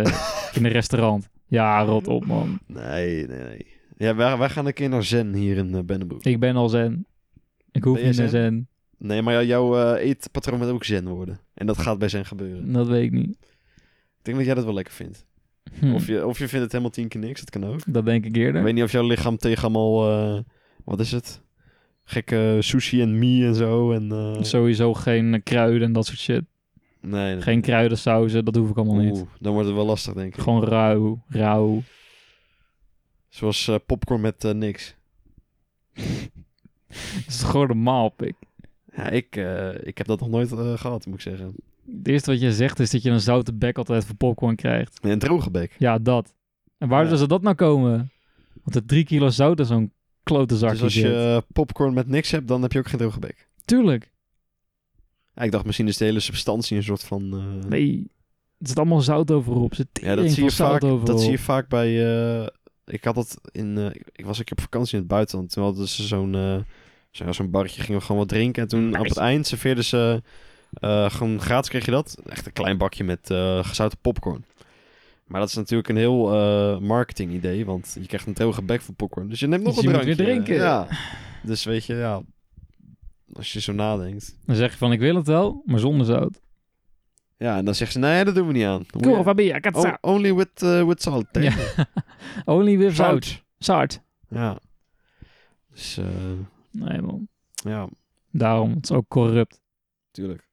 S1: in een restaurant. Ja, rot op, man.
S2: Nee, nee, nee. Ja, wij, wij gaan een keer naar Zen hier in eh, Bennebroek.
S1: Ik ben al zen. Ik hoef
S2: Ben jij
S1: niet naar
S2: zen?
S1: zen.
S2: Nee, maar jou- jouw eh, eetpatroon moet ook zen worden. En dat gaat bij zen gebeuren.
S1: Dat weet ik niet.
S2: Ik denk dat jij dat wel lekker vindt.
S1: Hm,
S2: Of, je, of je vindt het helemaal tien keer niks, dat kan ook.
S1: Dat denk ik
S2: Ik
S1: eerder.
S2: weet niet of jouw lichaam tegen allemaal, eh, wat is het? Gekke sushi en mie en zo. En, eh,
S1: Sowieso geen eh, kruiden en dat soort shit.
S2: Nee, nee.
S1: Geen kruidensauzen, dat hoef ik allemaal niet.
S2: Oeh, dan wordt het wel lastig, denk ik.
S1: Gewoon rauw, rauw.
S2: Zoals eh, popcorn met eh, niks.
S1: Dat is gewoon normaal, pik.
S2: Ja, ik, eh, ik heb dat nog nooit eh, gehad, moet ik zeggen.
S1: Het eerste wat je zegt is dat je een zoute bek altijd voor popcorn krijgt.
S2: En een droge bek.
S1: Ja, dat. En waar
S2: Ja.
S1: zou dat nou komen? Want de drie kilo zout is zo'n klote zakje
S2: Dus als je
S1: zit.
S2: eh, popcorn met niks hebt, dan heb je ook geen droge bek.
S1: Tuurlijk.
S2: Ja, ik dacht misschien is de hele substantie een soort van... eh,
S1: Nee. Er zit allemaal zout overop. Er zit
S2: Ja, dat zie, je
S1: veel zout
S2: vaak,
S1: overop.
S2: dat zie je vaak bij... eh, ik had dat in... eh, ik was een keer op vakantie in het buitenland. Toen hadden ze zo'n eh, zo- zo'n barretje, gingen we gewoon wat drinken. En toen op het eind serveerden ze... eh, gewoon gratis kreeg je dat. Echt een klein bakje met eh, gezouten popcorn. Maar dat is natuurlijk een heel eh, marketing idee. Want je krijgt een heel gebek van popcorn. Dus je neemt nog
S1: Dus
S2: een
S1: je moet
S2: drankje.
S1: weer drinken.
S2: Ja. Dus weet je, ja... Als je zo nadenkt.
S1: Dan zeg je van, ik wil het wel, maar zonder zout.
S2: Ja, en dan zegt ze, nee, dat doen we niet aan. Dan moet je-
S1: Cool, waar ben je? Ik had
S2: O-
S1: zout.
S2: only with, eh, with salt. hè?
S1: Ja. Only with
S2: Zout.
S1: zout. Zout.
S2: Ja. Dus eh,
S1: Nee, man.
S2: ja,
S1: Daarom, het is ook corrupt.
S2: tuurlijk.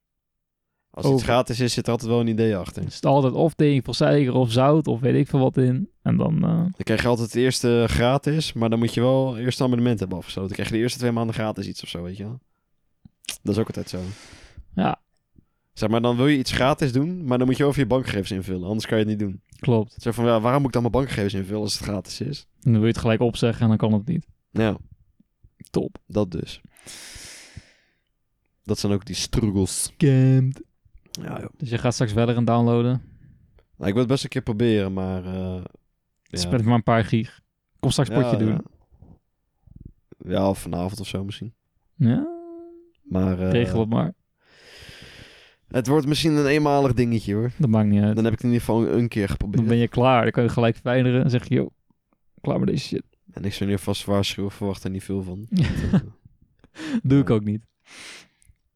S2: Als
S1: Over.
S2: iets gratis is, zit er altijd wel een idee achter.
S1: Er zit altijd of ding van suiker of zout of weet ik veel wat in. En dan... eh,
S2: Dan krijg je altijd het eerste gratis, maar dan moet je wel eerst een abonnement hebben afgesloten. Dan krijg je de eerste twee maanden gratis iets of zo, weet je wel. Dat is ook altijd zo.
S1: Ja.
S2: Zeg maar, dan wil je iets gratis doen, maar dan moet je over je bankgegevens invullen. Anders kan je het niet doen.
S1: Klopt.
S2: Zo van, ja, waarom moet ik dan mijn bankgegevens invullen als het gratis is?
S1: En dan wil je het gelijk opzeggen en dan kan het niet.
S2: Nou,
S1: Top.
S2: dat dus. Dat zijn ook die struggles.
S1: Scammed.
S2: Ja, joh.
S1: Dus je gaat straks wel gaan downloaden.
S2: Nou, ik wil het best een keer proberen, maar... eh,
S1: Het is
S2: ja.
S1: met maar een paar gig. Kom straks potje doen.
S2: Ja. Ja, of vanavond of zo misschien.
S1: Ja,
S2: Maar eh,
S1: regel het maar.
S2: het wordt misschien een eenmalig dingetje hoor.
S1: Dat maakt niet uit.
S2: Dan heb ik het in ieder geval een keer
S1: Dan
S2: geprobeerd.
S1: ben je klaar. Dan kan je gelijk verwijderen en zeg je, joh, klaar met deze shit.
S2: En ik zou nu vast waarschuwen, verwacht er niet veel van.
S1: Doe ik
S2: Ja.
S1: ook niet.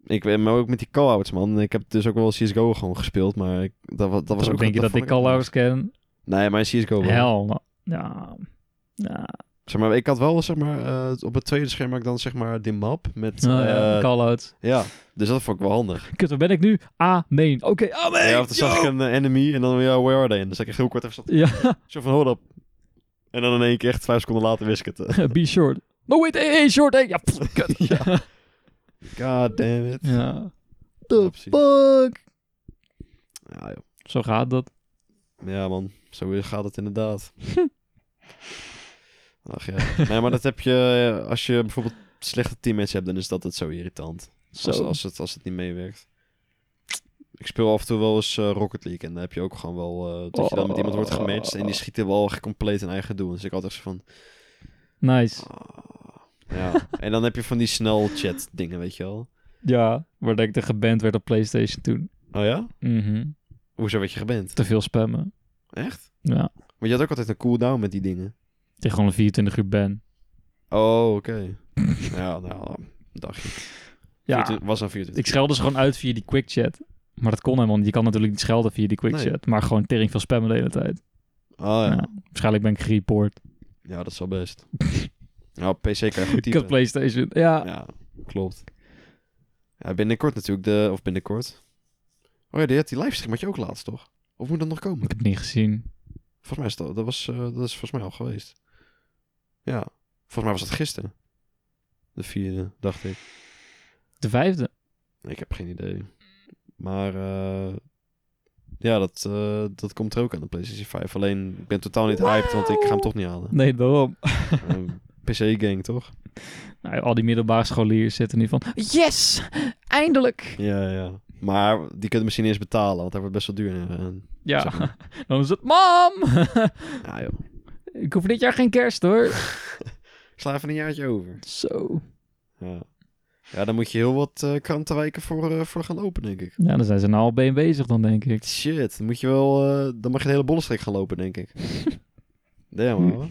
S2: ik weet maar ook met die call-outs man. Ik heb dus ook wel CSGO gewoon gespeeld, maar ik, dat, wa- dat was
S1: Dan
S2: ook...
S1: denk je dat
S2: vond
S1: ik al ouds ken?
S2: Nee, maar in CSGO wel.
S1: Hel, nou, ja. Ja,
S2: Zeg maar, ik had wel, zeg maar, eh, op het tweede scherm had ik dan zeg maar die map met...
S1: Nou ja,
S2: eh,
S1: call-outs.
S2: ja, dus dat vond ik wel handig.
S1: Kut, waar ben ik nu? Amen. Oké, amen.
S2: ja, of dan
S1: yo.
S2: zag ik een eh, enemy en dan, ja, where are they? En dan zag ik echt heel kort even zo-
S1: Ja,
S2: Zo van, hoor op. En dan in één keer, echt vijf seconden later, wist ik het.
S1: be short. No, wait, hey, hey, short, hey. Ja, pff, kut.
S2: Ja. God damn it.
S1: Ja.
S2: Ja, precies.
S1: fuck?
S2: Ja, joh.
S1: Zo gaat dat.
S2: ja man, zo gaat het inderdaad. Ach ja. Nee, maar dat heb je, eh, als je bijvoorbeeld slechte teammates hebt, dan is dat het zo irritant.
S1: Zo.
S2: Als, als, het, als het niet meewerkt. Ik speel af en toe wel eens eh, Rocket League en dan heb je ook gewoon wel eh, dat je dan met iemand wordt gematcht en die schieten wel echt compleet hun eigen doel. Dus ik altijd zo van,
S1: Nice.
S2: ah. ja. En dan heb je van die snel chat dingen, weet je wel.
S1: Ja, waar dat ik er geband werd op PlayStation toen.
S2: Oh ja?
S1: Mhm.
S2: Hoezo werd je geband?
S1: Te veel spammen.
S2: Echt?
S1: Ja.
S2: Maar je had ook altijd een cooldown met die dingen.
S1: Tegen gewoon een 24 uur ban.
S2: Oh, oké. ja, nou, dagje.
S1: Ja.
S2: Vierentwintig- was aan 24.
S1: Ik schelde ze gewoon uit via die quick chat. Maar dat kon helemaal niet. Je kan natuurlijk niet schelden via die quick
S2: Nee.
S1: chat. Maar gewoon tering veel spammen de hele tijd.
S2: Oh ja. ja.
S1: Ja. Waarschijnlijk ben ik gereport.
S2: dat is wel best. nou, op PC kan je goed
S1: Ik had
S2: typen.
S1: PlayStation. Ja.
S2: Ja, klopt. Ja, binnenkort natuurlijk de... Of binnenkort. Oh ja, die, had die livestream had je ook laatst, toch? Of moet dat nog komen?
S1: Ik heb het niet gezien.
S2: Volgens mij is dat... Dat, was, eh, dat is volgens mij al geweest. Ja. Volgens mij was dat gisteren. De vierde, dacht ik.
S1: De vijfde.
S2: Ik heb geen idee. Maar eh, ja, dat, eh, dat komt er ook aan de PlayStation 5. Alleen, ik ben totaal niet hyped, want ik ga hem toch niet halen.
S1: Nee, daarom.
S2: Een PC-gang, toch?
S1: Nou, al die middelbare scholieren zitten nu van... Yes! Eindelijk!
S2: Ja, ja. Maar die kunnen misschien eerst betalen, want hij wordt best wel duur. eh, en- Zeg
S1: Ja. Dan is het... Mam!
S2: Ja, joh.
S1: ik hoef dit jaar geen kerst, hoor.
S2: Ik sla even een jaartje over.
S1: Zo.
S2: Ja, ja dan moet je heel wat eh krantenwijken voor, eh, voor gaan lopen, denk ik.
S1: Ja, dan zijn ze nou al ben bezig dan, denk ik.
S2: Shit, dan moet je wel... eh, dan mag je de hele bollenstreek gaan lopen, denk ik. Damn, hoor.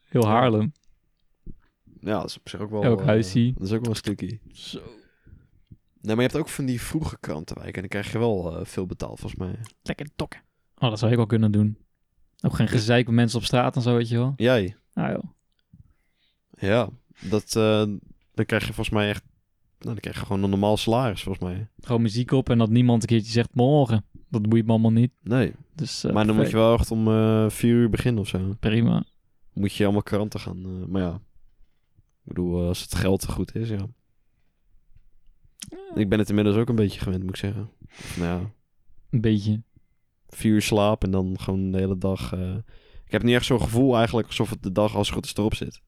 S1: Heel Haarlem.
S2: Ja, dat is op zich ook wel...
S1: Elk
S2: eh,
S1: huisje.
S2: Dat is ook wel een stukje.
S1: Zo.
S2: Nee, maar je hebt ook van die vroege krantenwijken. En dan krijg je wel eh, veel betaald, volgens mij.
S1: Lekker dokken. Oh, dat zou ik wel kunnen doen. Ook geen gezeik met mensen op straat en zo, weet je wel.
S2: Jij?
S1: Nou joh.
S2: Ja. Dat, eh, dan krijg je volgens mij echt... Nou, dan krijg je gewoon een normaal salaris, volgens mij.
S1: Gewoon muziek op en dat niemand een keertje zegt morgen. Dat boeit me allemaal niet.
S2: Nee.
S1: Dus eh,
S2: maar dan moet je
S1: perfect.
S2: wel echt om eh, vier uur beginnen of zo.
S1: Prima.
S2: Moet je allemaal kranten gaan. eh, maar ja. Ik bedoel, eh, als het geld te goed is, ja. Ik ben het inmiddels ook een beetje gewend, moet ik zeggen. Of, nou ja,
S1: Een beetje.
S2: vier uur slaap en dan gewoon de hele dag... eh, ik heb niet echt zo'n gevoel eigenlijk alsof het de dag als het goed is erop zit.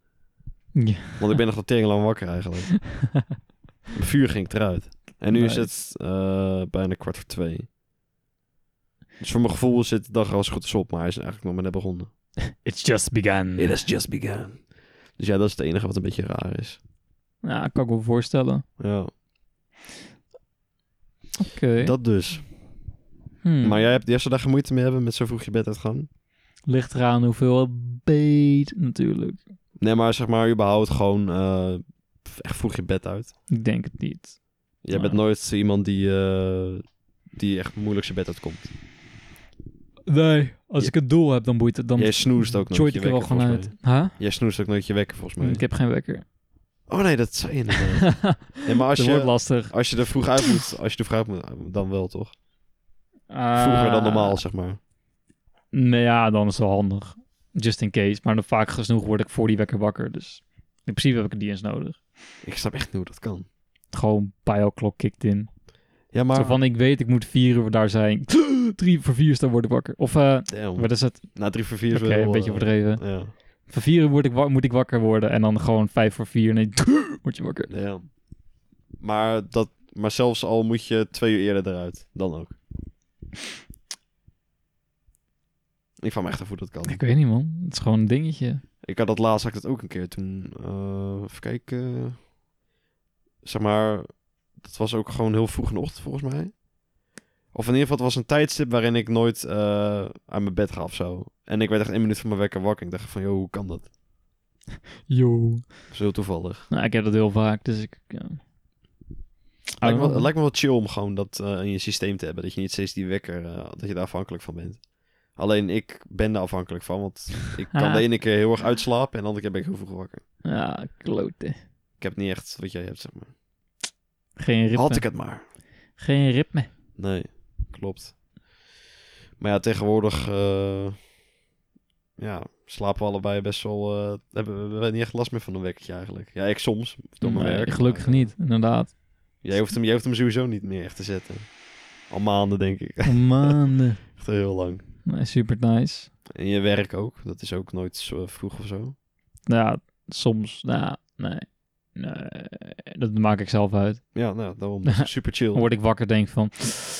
S1: Ja.
S2: Want ik ben nog wel tering lang wakker eigenlijk. Om vier ging ik eruit. En nu
S1: Nice.
S2: is het eh, bijna kwart voor twee. Dus voor mijn gevoel zit de dag als goed is op, maar hij is eigenlijk nog maar net begonnen.
S1: It's just begun.
S2: It has just begun. Dus ja, dat is het enige wat een beetje raar is.
S1: Ja, kan ik me voorstellen.
S2: Ja,
S1: Oké.
S2: dat dus.
S1: Hmm.
S2: Maar jij hebt de eerste dag moeite mee hebben met zo vroeg je bed uitgaan?
S1: Ligt eraan hoeveel beet natuurlijk.
S2: Nee, maar zeg maar überhaupt gewoon eh, echt vroeg je bed uit.
S1: Ik denk het niet.
S2: Jij bent
S1: Ah.
S2: nooit iemand die, eh, die echt moeilijk zijn bed uitkomt.
S1: Nee, als
S2: Je-
S1: ik het doel heb, dan boeit het. Dan
S2: Jij snoest ook nooit
S1: joint
S2: je
S1: ik er wel
S2: wekker,
S1: gewoon
S2: volgens
S1: uit.
S2: mij.
S1: Huh?
S2: Jij snoest ook nooit je wekker, volgens mij.
S1: Ik heb geen wekker.
S2: Oh nee, dat zei je inderdaad. nee, maar als
S1: dat wordt
S2: je,
S1: lastig.
S2: als je er vroeg uit moet, als je er vroeg uit moet, dan wel toch? Vroeger dan
S1: Ah,
S2: normaal, zeg maar.
S1: Nee, Nou ja, dan is het wel handig. Just in case. Maar dan vaak genoeg word ik voor die wekker wakker. Dus in principe heb ik het niet eens nodig.
S2: Ik snap echt niet hoe dat kan.
S1: Gewoon klok kicked in.
S2: Ja, maar...
S1: Zo van, ik weet, ik moet vier uur daar zijn. Drie voor vier uur dan word ik wakker. Of, eh,
S2: Damn.
S1: wat is het?
S2: Na drie voor vier is
S1: Oké,
S2: wel,
S1: een beetje
S2: eh,
S1: overdreven.
S2: Ja.
S1: Van vier uur word ik wa- moet ik wakker worden. En dan gewoon vijf voor vier. Nee, word je wakker.
S2: Ja. Maar, dat, maar zelfs al moet je twee uur eerder eruit, dan ook. Ik vraag me echt af hoe dat kan.
S1: Ik weet niet, man. Het is gewoon een dingetje.
S2: Ik had dat laatst had ik dat ook een keer toen. eh, even kijken. Zeg maar, dat was ook gewoon heel vroeg in de ochtend volgens mij. Of in ieder geval, het was een tijdstip waarin ik nooit eh aan mijn bed ga of zo. En ik werd echt één minuut van mijn wekker wakker. Ik dacht van, joh, hoe kan dat?
S1: Yo.
S2: Dat is heel toevallig.
S1: Nou, ik heb dat heel vaak, dus ik... Ja.
S2: Lijkt me,
S1: Ah,
S2: wel- het lijkt me wel chill om gewoon dat eh, in je systeem te hebben. Dat je niet steeds die wekker, eh, dat je daar afhankelijk van bent. Alleen ik ben daar afhankelijk van, want ik kan de ene keer heel erg uitslapen en de andere keer ben ik heel vroeg wakker.
S1: Ja, klote.
S2: Ik heb niet echt wat jij hebt, zeg maar.
S1: Geen ritme.
S2: Had ik het maar.
S1: Geen ritme.
S2: Nee, klopt. Maar ja, tegenwoordig eh, ja, slapen we allebei best wel... eh, hebben we- we niet echt last meer van een wekkertje eigenlijk. Ja, ik soms, door mijn
S1: Nee,
S2: werk.
S1: gelukkig
S2: maar,
S1: niet, inderdaad.
S2: eh, Jij hoeft, hem, jij hoeft hem sowieso niet meer echt te zetten. Al maanden, denk ik.
S1: Maanden.
S2: echt heel lang.
S1: Nee, super nice.
S2: En je werk ook. Dat is ook nooit zo eh, vroeg of zo.
S1: Nou Ja, soms, nou, nee. Nee, dat maak ik zelf uit.
S2: Ja, nou, daarom is het super
S1: Dan
S2: chill.
S1: word ik wakker denk van,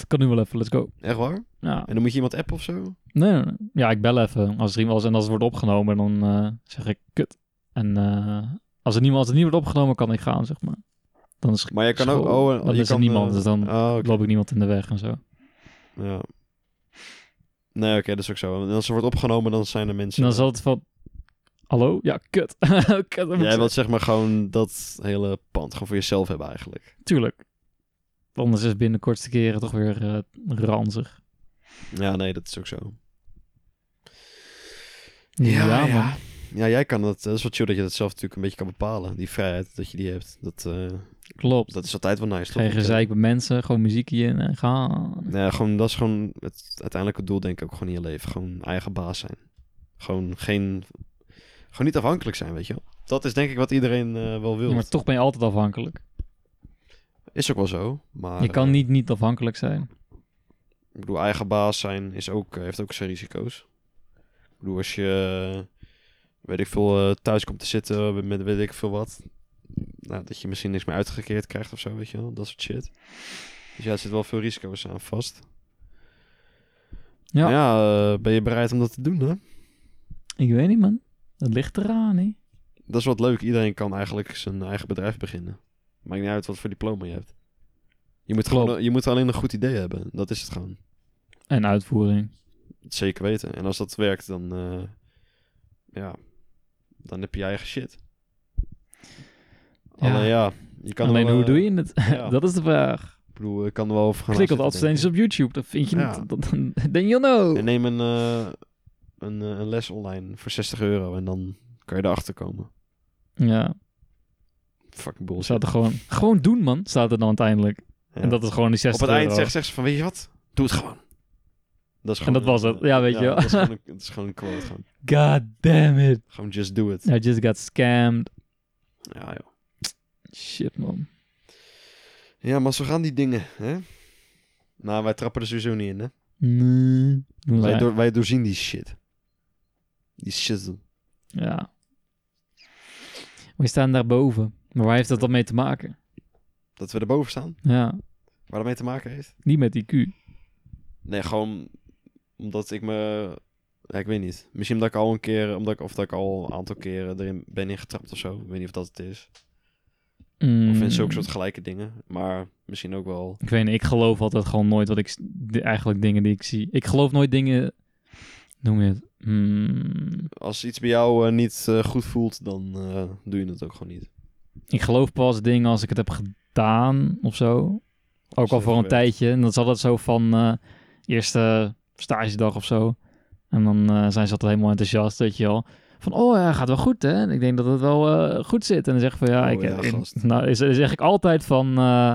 S1: kan nu wel even, let's go.
S2: Echt waar?
S1: Ja,
S2: En dan moet je iemand appen of zo?
S1: nee, nee, nee. ja ik bel even. Als er iemand was en als het wordt opgenomen, dan eh, zeg ik kut. En eh, als, er niemand, als het niet wordt opgenomen, kan ik gaan, zeg maar. Dan is,
S2: Maar je kan ook...
S1: school.
S2: Oh, en
S1: Dan
S2: je
S1: is er
S2: kan,
S1: niemand,
S2: eh,
S1: dus dan
S2: oh, oké.
S1: loop ik niemand in de weg en zo.
S2: Ja. Nee, oké, dat is ook zo. En als er wordt opgenomen, dan zijn er mensen...
S1: En dan zal het van... Hallo? Ja, kut. kut dat moet
S2: Jij
S1: ik
S2: wilt zeg maar gewoon dat hele pand gewoon voor jezelf hebben eigenlijk.
S1: zeggen. Tuurlijk. Anders is binnen de kortste keren toch weer eh, ranzig.
S2: Ja, nee, dat is ook zo.
S1: man.
S2: Ja, jij kan dat. Dat is wel chill dat je dat zelf natuurlijk een beetje kan bepalen. Die vrijheid dat je die hebt. Dat, eh,
S1: Klopt.
S2: dat is altijd wel nice. toch?
S1: Geen gezeik bij mensen, gewoon muziek in en gaan.
S2: Ja, gewoon, dat is gewoon het uiteindelijke doel denk ik ook gewoon in je leven. Gewoon eigen baas zijn. Gewoon geen... Gewoon niet afhankelijk zijn, weet je wel. Dat is denk ik wat iedereen eh, wel wil.
S1: Ja, maar toch ben je altijd afhankelijk.
S2: Ah, Is ook wel zo. Maar
S1: Je kan
S2: eh,
S1: niet niet afhankelijk zijn.
S2: Ik bedoel, eigen baas zijn is ook, eh, heeft ook zijn risico's. Ik bedoel, als je, eh, weet ik veel, eh, thuis komt te zitten met weet ik veel wat. Nou, dat je misschien niks meer uitgekeerd krijgt of zo, weet je wel. Dat soort shit. Dus ja, er zitten wel veel risico's aan vast.
S1: Ja.
S2: Maar ja eh, ben je bereid om dat te doen, hè?
S1: Ik weet niet, man. Dat ligt eraan, hè.
S2: Dat is wat leuk. Iedereen kan eigenlijk zijn eigen bedrijf beginnen. Maakt niet uit wat voor diploma je hebt. Je moet,
S1: Klopt.
S2: gewoon, eh, je moet alleen een goed idee hebben. Dat is het gewoon.
S1: En uitvoering.
S2: Zeker weten. En als dat werkt, dan, eh, ja, dan heb je je eigen shit.
S1: Ja.
S2: Alleen ja, je kan er
S1: Alleen
S2: wel,
S1: hoe
S2: eh,
S1: doe je het?
S2: ja.
S1: dat is de vraag.
S2: Ik bedoel, ik kan er wel over gaan
S1: Klik op de
S2: zitten
S1: advertenties op
S2: denken.
S1: YouTube. Dat vind je
S2: Ja.
S1: niet. Dat, dan then you'll know.
S2: En neem een, eh, een, eh, een les online voor 60 euro en dan kan je erachter komen.
S1: Ja,
S2: Fucking bullshit.
S1: staat er gewoon... Gewoon doen, man, staat er dan uiteindelijk.
S2: Ja.
S1: En dat is gewoon die 60
S2: op het eind
S1: euro.
S2: zegt, zegt ze van, weet je wat? Doe het gewoon. Dat is
S1: En dat was het. Ja, weet je wel.
S2: Dat is gewoon een, dat is gewoon een quote. Gewoon,
S1: God damn it.
S2: gewoon just do it.
S1: I just got scammed.
S2: Ja, joh.
S1: Shit, man.
S2: ja, maar zo gaan die dingen, hè? Nou, wij trappen er sowieso niet in, hè?
S1: Nee. Doen
S2: Wij,
S1: zij.
S2: door, wij doorzien die shit. Die shizzle.
S1: Ja. We staan daarboven. Maar waar heeft dat dan mee te maken?
S2: Dat we erboven staan.
S1: Ja.
S2: Waar dat mee te maken heeft.
S1: Niet met IQ.
S2: Nee, gewoon Omdat ik me... Ja, ik weet niet. Misschien omdat ik al een keer... Omdat ik, of dat ik al een aantal keren erin ben ingetrapt of zo. Ik weet niet of dat het is. Of in zulke soort gelijke dingen. Maar misschien ook wel...
S1: Mm. Ik weet niet, ik geloof altijd gewoon nooit wat ik... s- de- eigenlijk dingen die ik zie. Ik geloof nooit dingen... Noem je het? Mm,
S2: Als iets bij jou eh, niet eh, goed voelt, dan eh, doe je het ook gewoon niet.
S1: ik geloof pas dingen als ik het heb gedaan of zo. Ook al
S2: het
S1: voor een
S2: gewerkt.
S1: tijdje. En dat is altijd zo van eh, eerste stagedag of zo. En dan eh, zijn ze altijd helemaal enthousiast, weet je wel. Van, oh ja, gaat wel goed, hè? En ik denk dat het wel eh, goed zit. En dan zeg ik van, ja,
S2: Oh
S1: ik...
S2: ja,
S1: ik-
S2: gast.
S1: nou, is, is zeg ik altijd van... eh,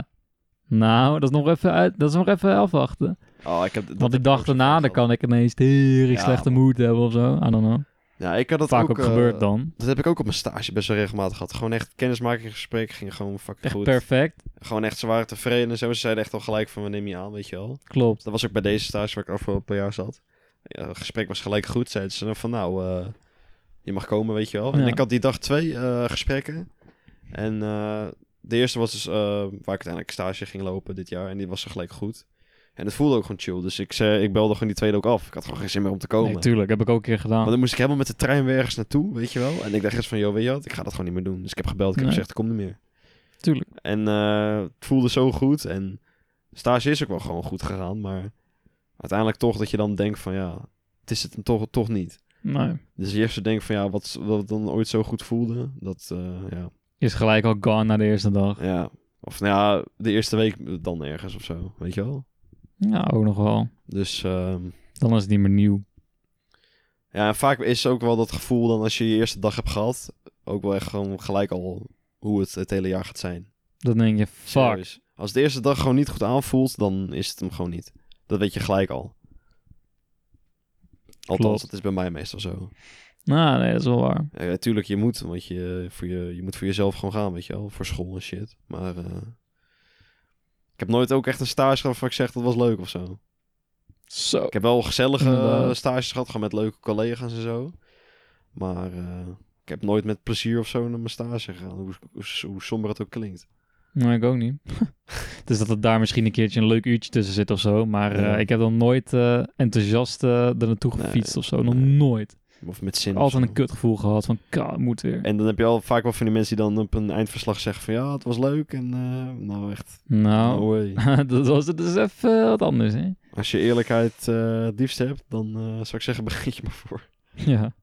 S1: nou, dat is nog even, uit, dat is nog even afwachten.
S2: Oh, ik heb, dat
S1: Want
S2: heb
S1: ik dacht
S2: ook zo
S1: daarna,
S2: vaak
S1: dan
S2: gehad.
S1: kan ik ineens heel
S2: Ja,
S1: slechte
S2: man.
S1: moed hebben of zo. I don't know.
S2: Ja, ik had dat
S1: Vaak ook
S2: eh,
S1: gebeurt dan.
S2: Dat heb ik ook op mijn stage best wel regelmatig gehad. Gewoon echt kennismakingsgesprekken ging gewoon fucking
S1: Echt
S2: goed.
S1: perfect.
S2: Gewoon echt, ze waren tevreden en zo. Ze zeiden echt al gelijk van, we nemen je aan, weet je wel.
S1: Klopt.
S2: Dat was ook bij deze stage waar ik afgelopen jaar zat. Ja, het gesprek was gelijk goed, zeiden ze dan van, nou, eh, je mag komen, weet je wel. En
S1: Ja.
S2: ik had die dag twee eh, gesprekken. En eh, de eerste was dus eh, waar ik uiteindelijk stage ging lopen dit jaar. En die was er gelijk goed. En het voelde ook gewoon chill. Dus ik, zei, ik belde gewoon die tweede ook af. Ik had gewoon geen zin meer om te komen.
S1: Nee, tuurlijk. Heb ik ook een keer gedaan.
S2: Maar dan moest ik helemaal met de trein weer ergens naartoe, weet je wel. En ik dacht eerst van, joh, weet je wat, ik ga dat gewoon niet meer doen. Dus ik heb gebeld, ik heb
S1: Nee.
S2: gezegd, kom niet meer.
S1: Tuurlijk.
S2: En eh, het voelde zo goed. En stage is ook wel gewoon goed gegaan. Maar uiteindelijk toch dat je dan denkt van, ja, het is het hem toch, toch niet.
S1: Nee.
S2: Dus eerst te denken van, ja, wat, wat dan ooit zo goed voelde. Dat, eh, ja.
S1: Is gelijk al gone na de eerste dag.
S2: ja. Of nou ja, de eerste week dan ergens of zo, weet je wel.
S1: Ja, ook nog wel.
S2: Dus ehm,
S1: Dan is het niet meer nieuw.
S2: ja, en vaak is ook wel dat gevoel dan als je je eerste dag hebt gehad, ook wel echt gewoon gelijk al hoe het het hele jaar gaat zijn.
S1: Dan denk je, fuck.
S2: Serieus. Als de eerste dag gewoon niet goed aanvoelt, dan is het hem gewoon niet. Dat weet je gelijk al. Althans,
S1: Klopt.
S2: dat is bij mij meestal zo.
S1: Nou, nee, dat is wel waar.
S2: Ja, ja, tuurlijk, je moet, want je, eh, voor je, je moet voor jezelf gewoon gaan, weet je wel. Voor school en shit. Maar eh, ik heb nooit ook echt een stage gehad waarvan ik zeg dat was leuk of zo.
S1: Zo.
S2: Ik heb wel gezellige eh,
S1: Inderdaad.
S2: stages gehad, gewoon met leuke collega's en zo. Maar eh, ik heb nooit met plezier of zo naar mijn stage gegaan, hoe, hoe, hoe somber het ook klinkt.
S1: Nee, ik ook niet. dus dat het daar misschien een keertje een leuk uurtje tussen zit of zo. Maar eh,
S2: Ja.
S1: ik heb dan nooit eh, enthousiast eh er naartoe
S2: Nee,
S1: gefietst of zo. Nog
S2: nee.
S1: nooit.
S2: Of met zin of
S1: Altijd
S2: zo.
S1: een kutgevoel gehad van, "Ka, moet weer.
S2: En dan heb je al vaak wel van die mensen die dan op een eindverslag zeggen van ja, het was leuk en eh, nou echt,
S1: Nou,
S2: no way.
S1: dat was het dus even eh, wat anders, hè?
S2: Als je eerlijkheid eh, het liefst hebt, dan eh, zou ik zeggen begin je maar voor.
S1: Ja.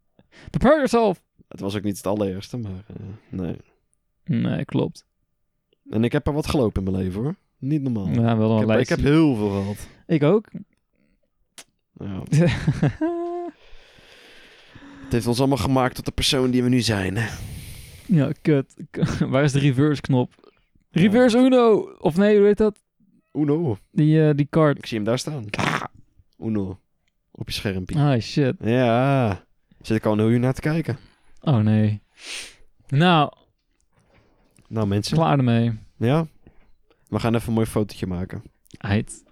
S1: Prepare yourself!
S2: Het was ook niet het allereerste, maar eh, nee.
S1: Nee, klopt.
S2: En ik heb er wat gelopen in mijn leven hoor. Niet normaal.
S1: Ja, wel een
S2: Oh. ik, heb, ik
S1: lijstje.
S2: heb heel veel gehad.
S1: Ik ook.
S2: Ja. Het heeft ons allemaal gemaakt tot de persoon die we nu zijn.
S1: ja, kut. Waar is de reverse knop? Reverse Uno! Of nee, hoe heet dat?
S2: Uno.
S1: Die, eh, die card.
S2: Ik zie hem daar staan. Uno. Op je schermpje.
S1: Ah, shit.
S2: Ja. Zit ik al een heel uur naar te kijken.
S1: Oh, nee. Nou,
S2: Nou mensen.
S1: klaar ermee.
S2: Ja. We gaan even een mooi fotootje maken.
S1: Eit.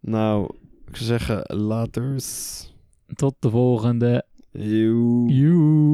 S2: Nou, ik zou zeggen, laters.
S1: Tot de volgende.
S2: Joe.
S1: Joe.